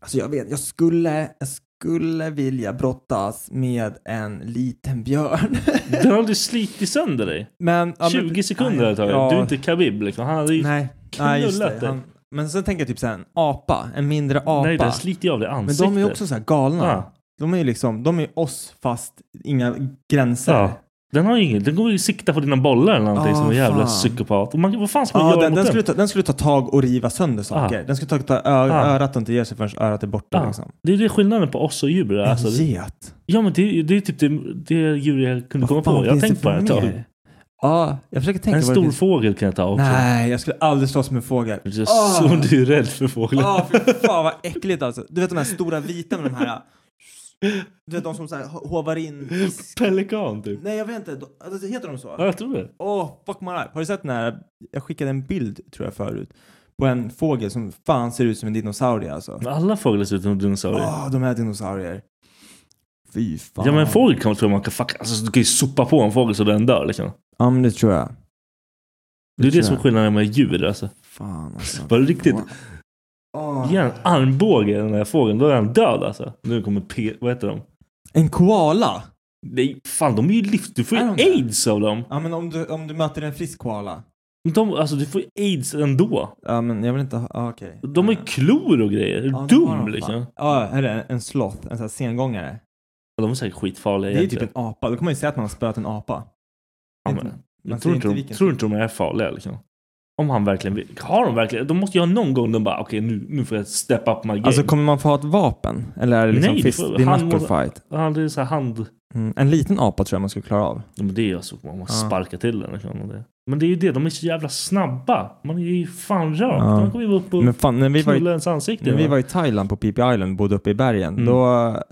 Speaker 2: Alltså jag vet, jag skulle, jag skulle vilja brottas med en liten björn.
Speaker 4: Den hade ju slitit sönder dig.
Speaker 2: Men, ja, men-
Speaker 4: 20 sekunder hade det tagit.
Speaker 2: Ja,
Speaker 4: Du är inte Khabib liksom. Han hade ju
Speaker 2: Nej, nej, just
Speaker 4: knullat
Speaker 2: det.
Speaker 4: dig.
Speaker 2: Han, Men sen tänker jag typ så här, en apa, en mindre apa.
Speaker 4: Nej, den sliter ju av dig
Speaker 2: Men
Speaker 4: ansiktet.
Speaker 2: de är ju också så här galna.
Speaker 4: Ja.
Speaker 2: De är ju liksom, de är ju oss fast inga gränser.
Speaker 4: Ja. Den har ju inget. Den går ju sikta på dina bollar eller någonting
Speaker 2: Ah,
Speaker 4: som en jävla
Speaker 2: fan.
Speaker 4: psykopat. Och man, vad fan ska man
Speaker 2: Ja,
Speaker 4: göra
Speaker 2: den,
Speaker 4: mot
Speaker 2: den,
Speaker 4: den?
Speaker 2: skulle ta, den skulle ta tag och riva sönder saker.
Speaker 4: Ah.
Speaker 2: Den skulle ta, ta ö,
Speaker 4: Ah.
Speaker 2: örat och inte ge sig förrän örat är borta.
Speaker 4: Ja.
Speaker 2: Liksom.
Speaker 4: Det är det skillnaden på oss och djur. Alltså,
Speaker 2: en
Speaker 4: det,
Speaker 2: get.
Speaker 4: ja, men det, det är typ det, det djur jag kunde
Speaker 2: Vad
Speaker 4: komma
Speaker 2: fan
Speaker 4: på. Jag
Speaker 2: finns det
Speaker 4: tänkte
Speaker 2: för
Speaker 4: bara ett tag.
Speaker 2: mer? Ja, jag försöker tänka
Speaker 4: En
Speaker 2: vad det
Speaker 4: stor
Speaker 2: finns-
Speaker 4: fågel kan jag ta också.
Speaker 2: Nej, jag skulle aldrig slåss med en fågel.
Speaker 4: Det är
Speaker 2: Ah.
Speaker 4: Så du är rädd för fåglar.
Speaker 2: Ja, fy fan vad äckligt alltså. Du vet de här stora vita med de här... ah. Du vet de som så här ho- hovar in fisk.
Speaker 4: Pelikan typ.
Speaker 2: Nej, jag vet inte. De- alltså, Heter de
Speaker 4: Ja,
Speaker 2: så?
Speaker 4: jag tror det.
Speaker 2: Åh, fuck my life. Har du sett den här? Jag skickade en bild, tror jag, förut. På en fågel som fan ser ut som en dinosaurie alltså.
Speaker 4: Men Alla fåglar ser ut som dinosaurier.
Speaker 2: Åh, de här dinosaurier. Fy Ah, fan.
Speaker 4: Ja men en fågel kan man tro man kan fucka, alltså, du kan ju sopa på en fågel så den dör liksom.
Speaker 2: Ja, men det tror jag.
Speaker 4: Det är det som är
Speaker 2: jag.
Speaker 4: skillnaden med djur alltså.
Speaker 2: Fan alltså. Ah.
Speaker 4: Var det riktigt?
Speaker 2: Åh.
Speaker 4: Ge en armbåge i den här fågeln, då är den död alltså. Nu kommer P... Vad heter de?
Speaker 2: En koala?
Speaker 4: Nej, fan de är ju livs... Du får ju
Speaker 2: Är de det?
Speaker 4: aids av dem.
Speaker 2: Ja, men om du, om du möter en frisk koala.
Speaker 4: De, alltså du får ju aids ändå.
Speaker 2: Ja, men jag vill inte ha... ja, Okej.
Speaker 4: De har ju klor och grejer. Är du
Speaker 2: Ah. Ja, det har
Speaker 4: dum
Speaker 2: de, fan.
Speaker 4: liksom?
Speaker 2: Ja, här är en sloth, en sån här sengångare.
Speaker 4: Ja, de är säkert skitfarliga
Speaker 2: Det är ju typ
Speaker 4: egentligen.
Speaker 2: en apa. Då kommer man ju säga att man har spöat en apa.
Speaker 4: Ja,
Speaker 2: inte-
Speaker 4: men,
Speaker 2: man
Speaker 4: jag
Speaker 2: ser
Speaker 4: tror, inte
Speaker 2: inte
Speaker 4: de,
Speaker 2: vilken
Speaker 4: tror
Speaker 2: typ.
Speaker 4: inte de är farliga liksom. Om han verkligen vill. Har de verkligen? De måste ju ha någon gång de bara okej nu, nu får jag step up my game.
Speaker 2: Alltså kommer man få ha ett vapen? Eller är det liksom
Speaker 4: Nej,
Speaker 2: Nej,
Speaker 4: du
Speaker 2: fist?
Speaker 4: får-
Speaker 2: Det är
Speaker 4: han
Speaker 2: knuckle
Speaker 4: måste-
Speaker 2: fight.
Speaker 4: ja, det är så här hand...
Speaker 2: Mm. En liten apa tror jag man skulle klara av.
Speaker 4: Ja, men det är ju alltså, man måste
Speaker 2: Ja.
Speaker 4: sparka till den. Liksom, och det. Men det är ju det, de är så jävla snabba. Man är ju fan rak.
Speaker 2: Ja.
Speaker 4: De kommer ju upp och
Speaker 2: Men fan, när vi var i,
Speaker 4: knulla ens ansikte.
Speaker 2: när vi
Speaker 4: va?
Speaker 2: var i Thailand på PP Island och bodde uppe i bergen,
Speaker 4: Mm.
Speaker 2: då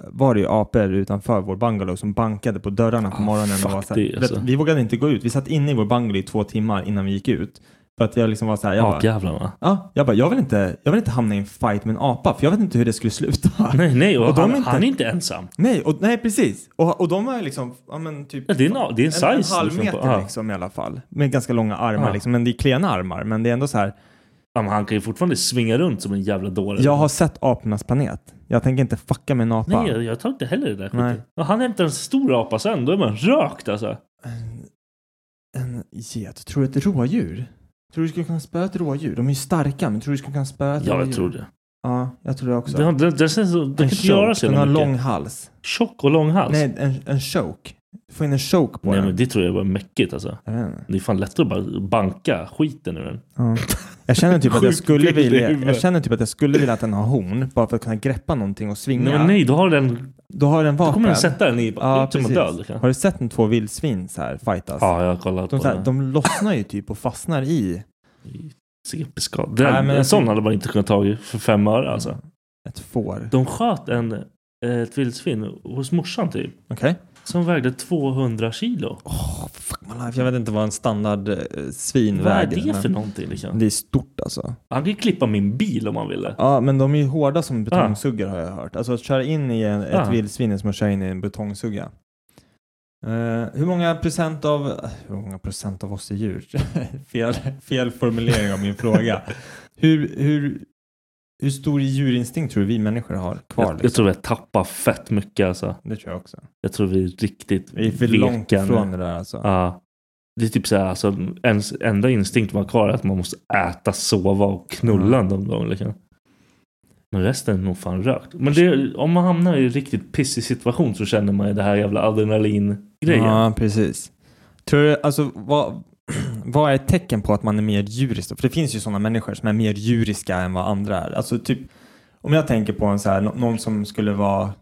Speaker 2: var det ju apor utanför vår bungalow som bankade på dörrarna på
Speaker 4: Ah,
Speaker 2: morgonen.
Speaker 4: fuck
Speaker 2: och var så
Speaker 4: det,
Speaker 2: här, Du vet,
Speaker 4: alltså.
Speaker 2: Vi vågade inte gå ut. Vi satt inne i vår bungalow i två timmar innan vi gick ut. För att jag liksom var så här, jag bara,
Speaker 4: Apjävlarna.
Speaker 2: Ja, jag bara, jag vill, inte, jag vill inte hamna i en fight med en apa, för jag vet inte hur det skulle sluta.
Speaker 4: Nej, nej, och,
Speaker 2: Och de
Speaker 4: han,
Speaker 2: är inte-
Speaker 4: han är inte ensam.
Speaker 2: Nej, och, nej precis. Och, och de var liksom, ja men typ...
Speaker 4: Ja, det är en- det är en size
Speaker 2: En halv
Speaker 4: liksom
Speaker 2: meter
Speaker 4: på-
Speaker 2: liksom,
Speaker 4: ja.
Speaker 2: i alla fall. Med ganska långa armar
Speaker 4: Ja.
Speaker 2: liksom. Men det är klena armar, men det är ändå så här.
Speaker 4: Ja, men han kan ju fortfarande svinga runt som en jävla dåre.
Speaker 2: Jag har sett apornas planet. Jag tänker inte fucka med en apa.
Speaker 4: Nej, jag, jag tar inte heller det där
Speaker 2: Nej.
Speaker 4: skiten. Och Han hämtar en stor apa sen, då är man rökt alltså.
Speaker 2: En get. Tror du ett rådjur? Tror du du skulle kunna spöa ett rådjur? De är ju starka, men tror du du skulle kunna spöa ett
Speaker 4: Ja,
Speaker 2: rådjur?
Speaker 4: jag tror det.
Speaker 2: Ja, jag tror det också.
Speaker 4: Det, har- det, det, känns så- det kan
Speaker 2: en
Speaker 4: inte göra
Speaker 2: choke.
Speaker 4: så
Speaker 2: Den
Speaker 4: jävla
Speaker 2: har
Speaker 4: mycket.
Speaker 2: lång hals.
Speaker 4: Tjock och lång hals. Nej,
Speaker 2: Nej, en, en choke. Du får in en choke på den.
Speaker 4: men det tror jag var mäckigt alltså.
Speaker 2: Jag vet inte.
Speaker 4: Det är fan lättare att bara banka skiten ur den.
Speaker 2: Ja. Jag känner typ att jag
Speaker 4: Sjukt
Speaker 2: skulle
Speaker 4: bild i
Speaker 2: vilja, jag
Speaker 4: huvudet.
Speaker 2: känner typ att jag skulle vilja att den har horn bara för att kunna greppa någonting och svinga.
Speaker 4: Nej, men nej, då har den...
Speaker 2: Då har den vapen.
Speaker 4: Då kommer den sätta den i...
Speaker 2: Ja,
Speaker 4: Ja, som en
Speaker 2: precis.
Speaker 4: död. Kan.
Speaker 2: Har du sett en två vildsvin så här fightas?
Speaker 4: Ja, jag har kollat
Speaker 2: De,
Speaker 4: på
Speaker 2: så här,
Speaker 4: det.
Speaker 2: de lossnar ju typ och fastnar i
Speaker 4: CP-skada.
Speaker 2: Nej, men
Speaker 4: Den- En
Speaker 2: jag
Speaker 4: sån
Speaker 2: tyck- Mm.
Speaker 4: hade man inte kunnat tagit för fem öre alltså.
Speaker 2: ett får.
Speaker 4: De sköt en, eh, ett vildsvin hos morsan typ.
Speaker 2: Okej.
Speaker 4: Som vägde 200 kilo.
Speaker 2: Åh, fuck my life. Jag vet inte vad en standard eh, svin
Speaker 4: Vad är
Speaker 2: väger.
Speaker 4: det
Speaker 2: men
Speaker 4: för någonting liksom?
Speaker 2: Det är stort alltså.
Speaker 4: Han kan ju klippa min bil om han ville.
Speaker 2: Ja, men de är ju hårda som
Speaker 4: Ah.
Speaker 2: betongsuggar har jag hört. Alltså att köra in i en, ett
Speaker 4: Ja.
Speaker 2: vildsvin är som att köra in i en betongsugga. Eh, hur många procent av... Hur många procent av oss är djur? fel, fel formulering av min fråga. Hur, hur, hur stor djurinstinkt tror du vi människor har kvar?
Speaker 4: jag, jag
Speaker 2: liksom?
Speaker 4: tror vi har tappat fett mycket alltså.
Speaker 2: Det tror jag också.
Speaker 4: Jag tror vi är riktigt
Speaker 2: Vi är för
Speaker 4: veka
Speaker 2: långt
Speaker 4: nu.
Speaker 2: ifrån det där alltså.
Speaker 4: Ja. Det är typ så här, alltså, ens enda instinkt man har kvar är att man måste äta, sova och knulla
Speaker 2: Mm.
Speaker 4: någon gång. Liksom. Men resten är nog fan rökt. Men det, om man hamnar i en riktigt pissig situation så känner man ju det här jävla adrenalin-grejen.
Speaker 2: Ja, precis. Tror du, alltså vad, vad är ett tecken på att man är mer djurisk? då? För det finns ju sådana människor som är mer djuriska än vad andra är. Alltså typ, om jag tänker på en så här, nå- någon som skulle vara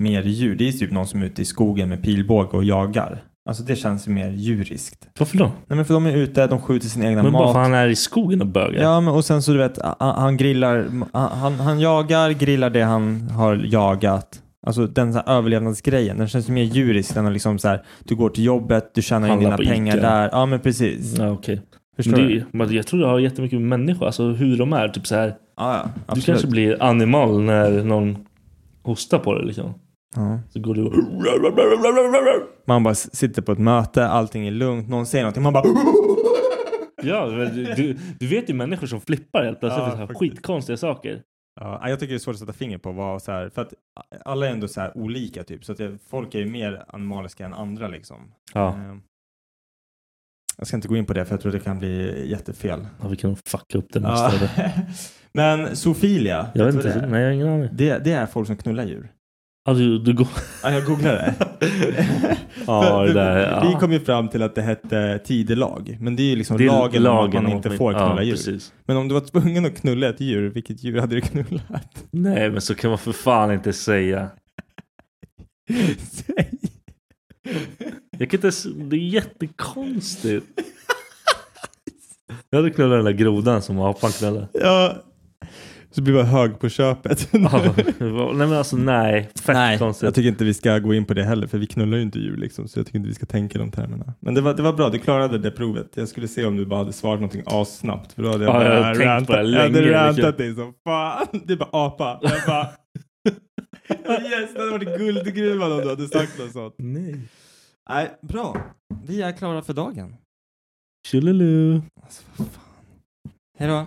Speaker 2: mer djur, det är typ någon som är ute i skogen med pilbåge och jagar. Alltså det känns ju mer djuriskt.
Speaker 4: Varför då?
Speaker 2: Nej men för de är ute, de skjuter sin egna
Speaker 4: Men bara
Speaker 2: mat.
Speaker 4: för han är i skogen och bögar.
Speaker 2: Ja, men och sen så du vet, a- a- han grillar, a- han, han jagar, grillar det han har jagat. Alltså den så här överlevnadsgrejen, den känns ju mer djurisk. Den är liksom så här, du går till jobbet, du tjänar in
Speaker 4: Handlar
Speaker 2: dina
Speaker 4: på Ica.
Speaker 2: pengar där. Ja, men precis.
Speaker 4: Ja, okej.
Speaker 2: Förstår
Speaker 4: Men det, är
Speaker 2: du?
Speaker 4: ju- men jag tror det har jättemycket med människor, alltså hur de är. Typ så här,
Speaker 2: Ja, ja,
Speaker 4: du
Speaker 2: absolut.
Speaker 4: kanske blir animal när någon hostar på dig. Liksom.
Speaker 2: Ja.
Speaker 4: Så går du och...
Speaker 2: Man bara s- sitter på ett möte, allting är lugnt, någon säger någonting, man bara
Speaker 4: Ja, men du, du, du vet ju människor som flippar helt plötsligt
Speaker 2: Ja,
Speaker 4: för så här
Speaker 2: faktiskt.
Speaker 4: skitkonstiga saker.
Speaker 2: Ja, jag tycker det är svårt att sätta finger på vad så här, för att alla är ändå så här olika typ, så att det, folk är ju mer animaliska än andra liksom.
Speaker 4: Ja.
Speaker 2: Ehm, Jag ska inte gå in på det för jag tror det kan bli jättefel.
Speaker 4: Ja, vi kan fucka upp det
Speaker 2: Ja.
Speaker 4: mesta. Ja.
Speaker 2: Men zoofilia,
Speaker 4: Jag vet
Speaker 2: vet du
Speaker 4: inte.
Speaker 2: vad
Speaker 4: Nej, jag har ingen aning.
Speaker 2: det, är? det, det är folk som knullar djur.
Speaker 4: Ja, du, du går...
Speaker 2: Ja, jag googlade det.
Speaker 4: Ja,
Speaker 2: För-
Speaker 4: det
Speaker 2: för
Speaker 4: där, ja.
Speaker 2: Vi kom ju fram till att det hette tidelag. Men det är ju liksom
Speaker 4: Det är
Speaker 2: lagen, om att man
Speaker 4: om
Speaker 2: inte får knulla
Speaker 4: ja,
Speaker 2: djur.
Speaker 4: Precis.
Speaker 2: Men om du var tvungen att knulla ett djur, vilket djur hade du knullat?
Speaker 4: Nej, men så kan man för fan inte säga.
Speaker 2: Säg!
Speaker 4: Jag kan inte ens... Det är jättekonstigt. Jag hade knullat den där grodan som apan knullade.
Speaker 2: Ja. Så blir man hög på köpet.
Speaker 4: Ja, det var- nej men alltså nej. Fett konstigt.
Speaker 2: jag tycker inte vi ska gå in på det heller för vi knullar ju inte djur liksom så jag tycker inte vi ska tänka i de termerna. Men det var, det var bra, du klarade det provet. Jag skulle se om du bara hade svarat någonting assnabbt för då hade jag
Speaker 4: Ja, jag
Speaker 2: bara
Speaker 4: har tänkt på det
Speaker 2: jag hade
Speaker 4: länge, liksom.
Speaker 2: rantat dig som fan. Du bara apa. Jag bara yes, det hade varit guldgruvan om du hade sagt något sånt.
Speaker 4: Nej.
Speaker 2: Nej, bra. Vi är klara för dagen.
Speaker 4: Tjolilu.
Speaker 2: Alltså vad fan. Hej då.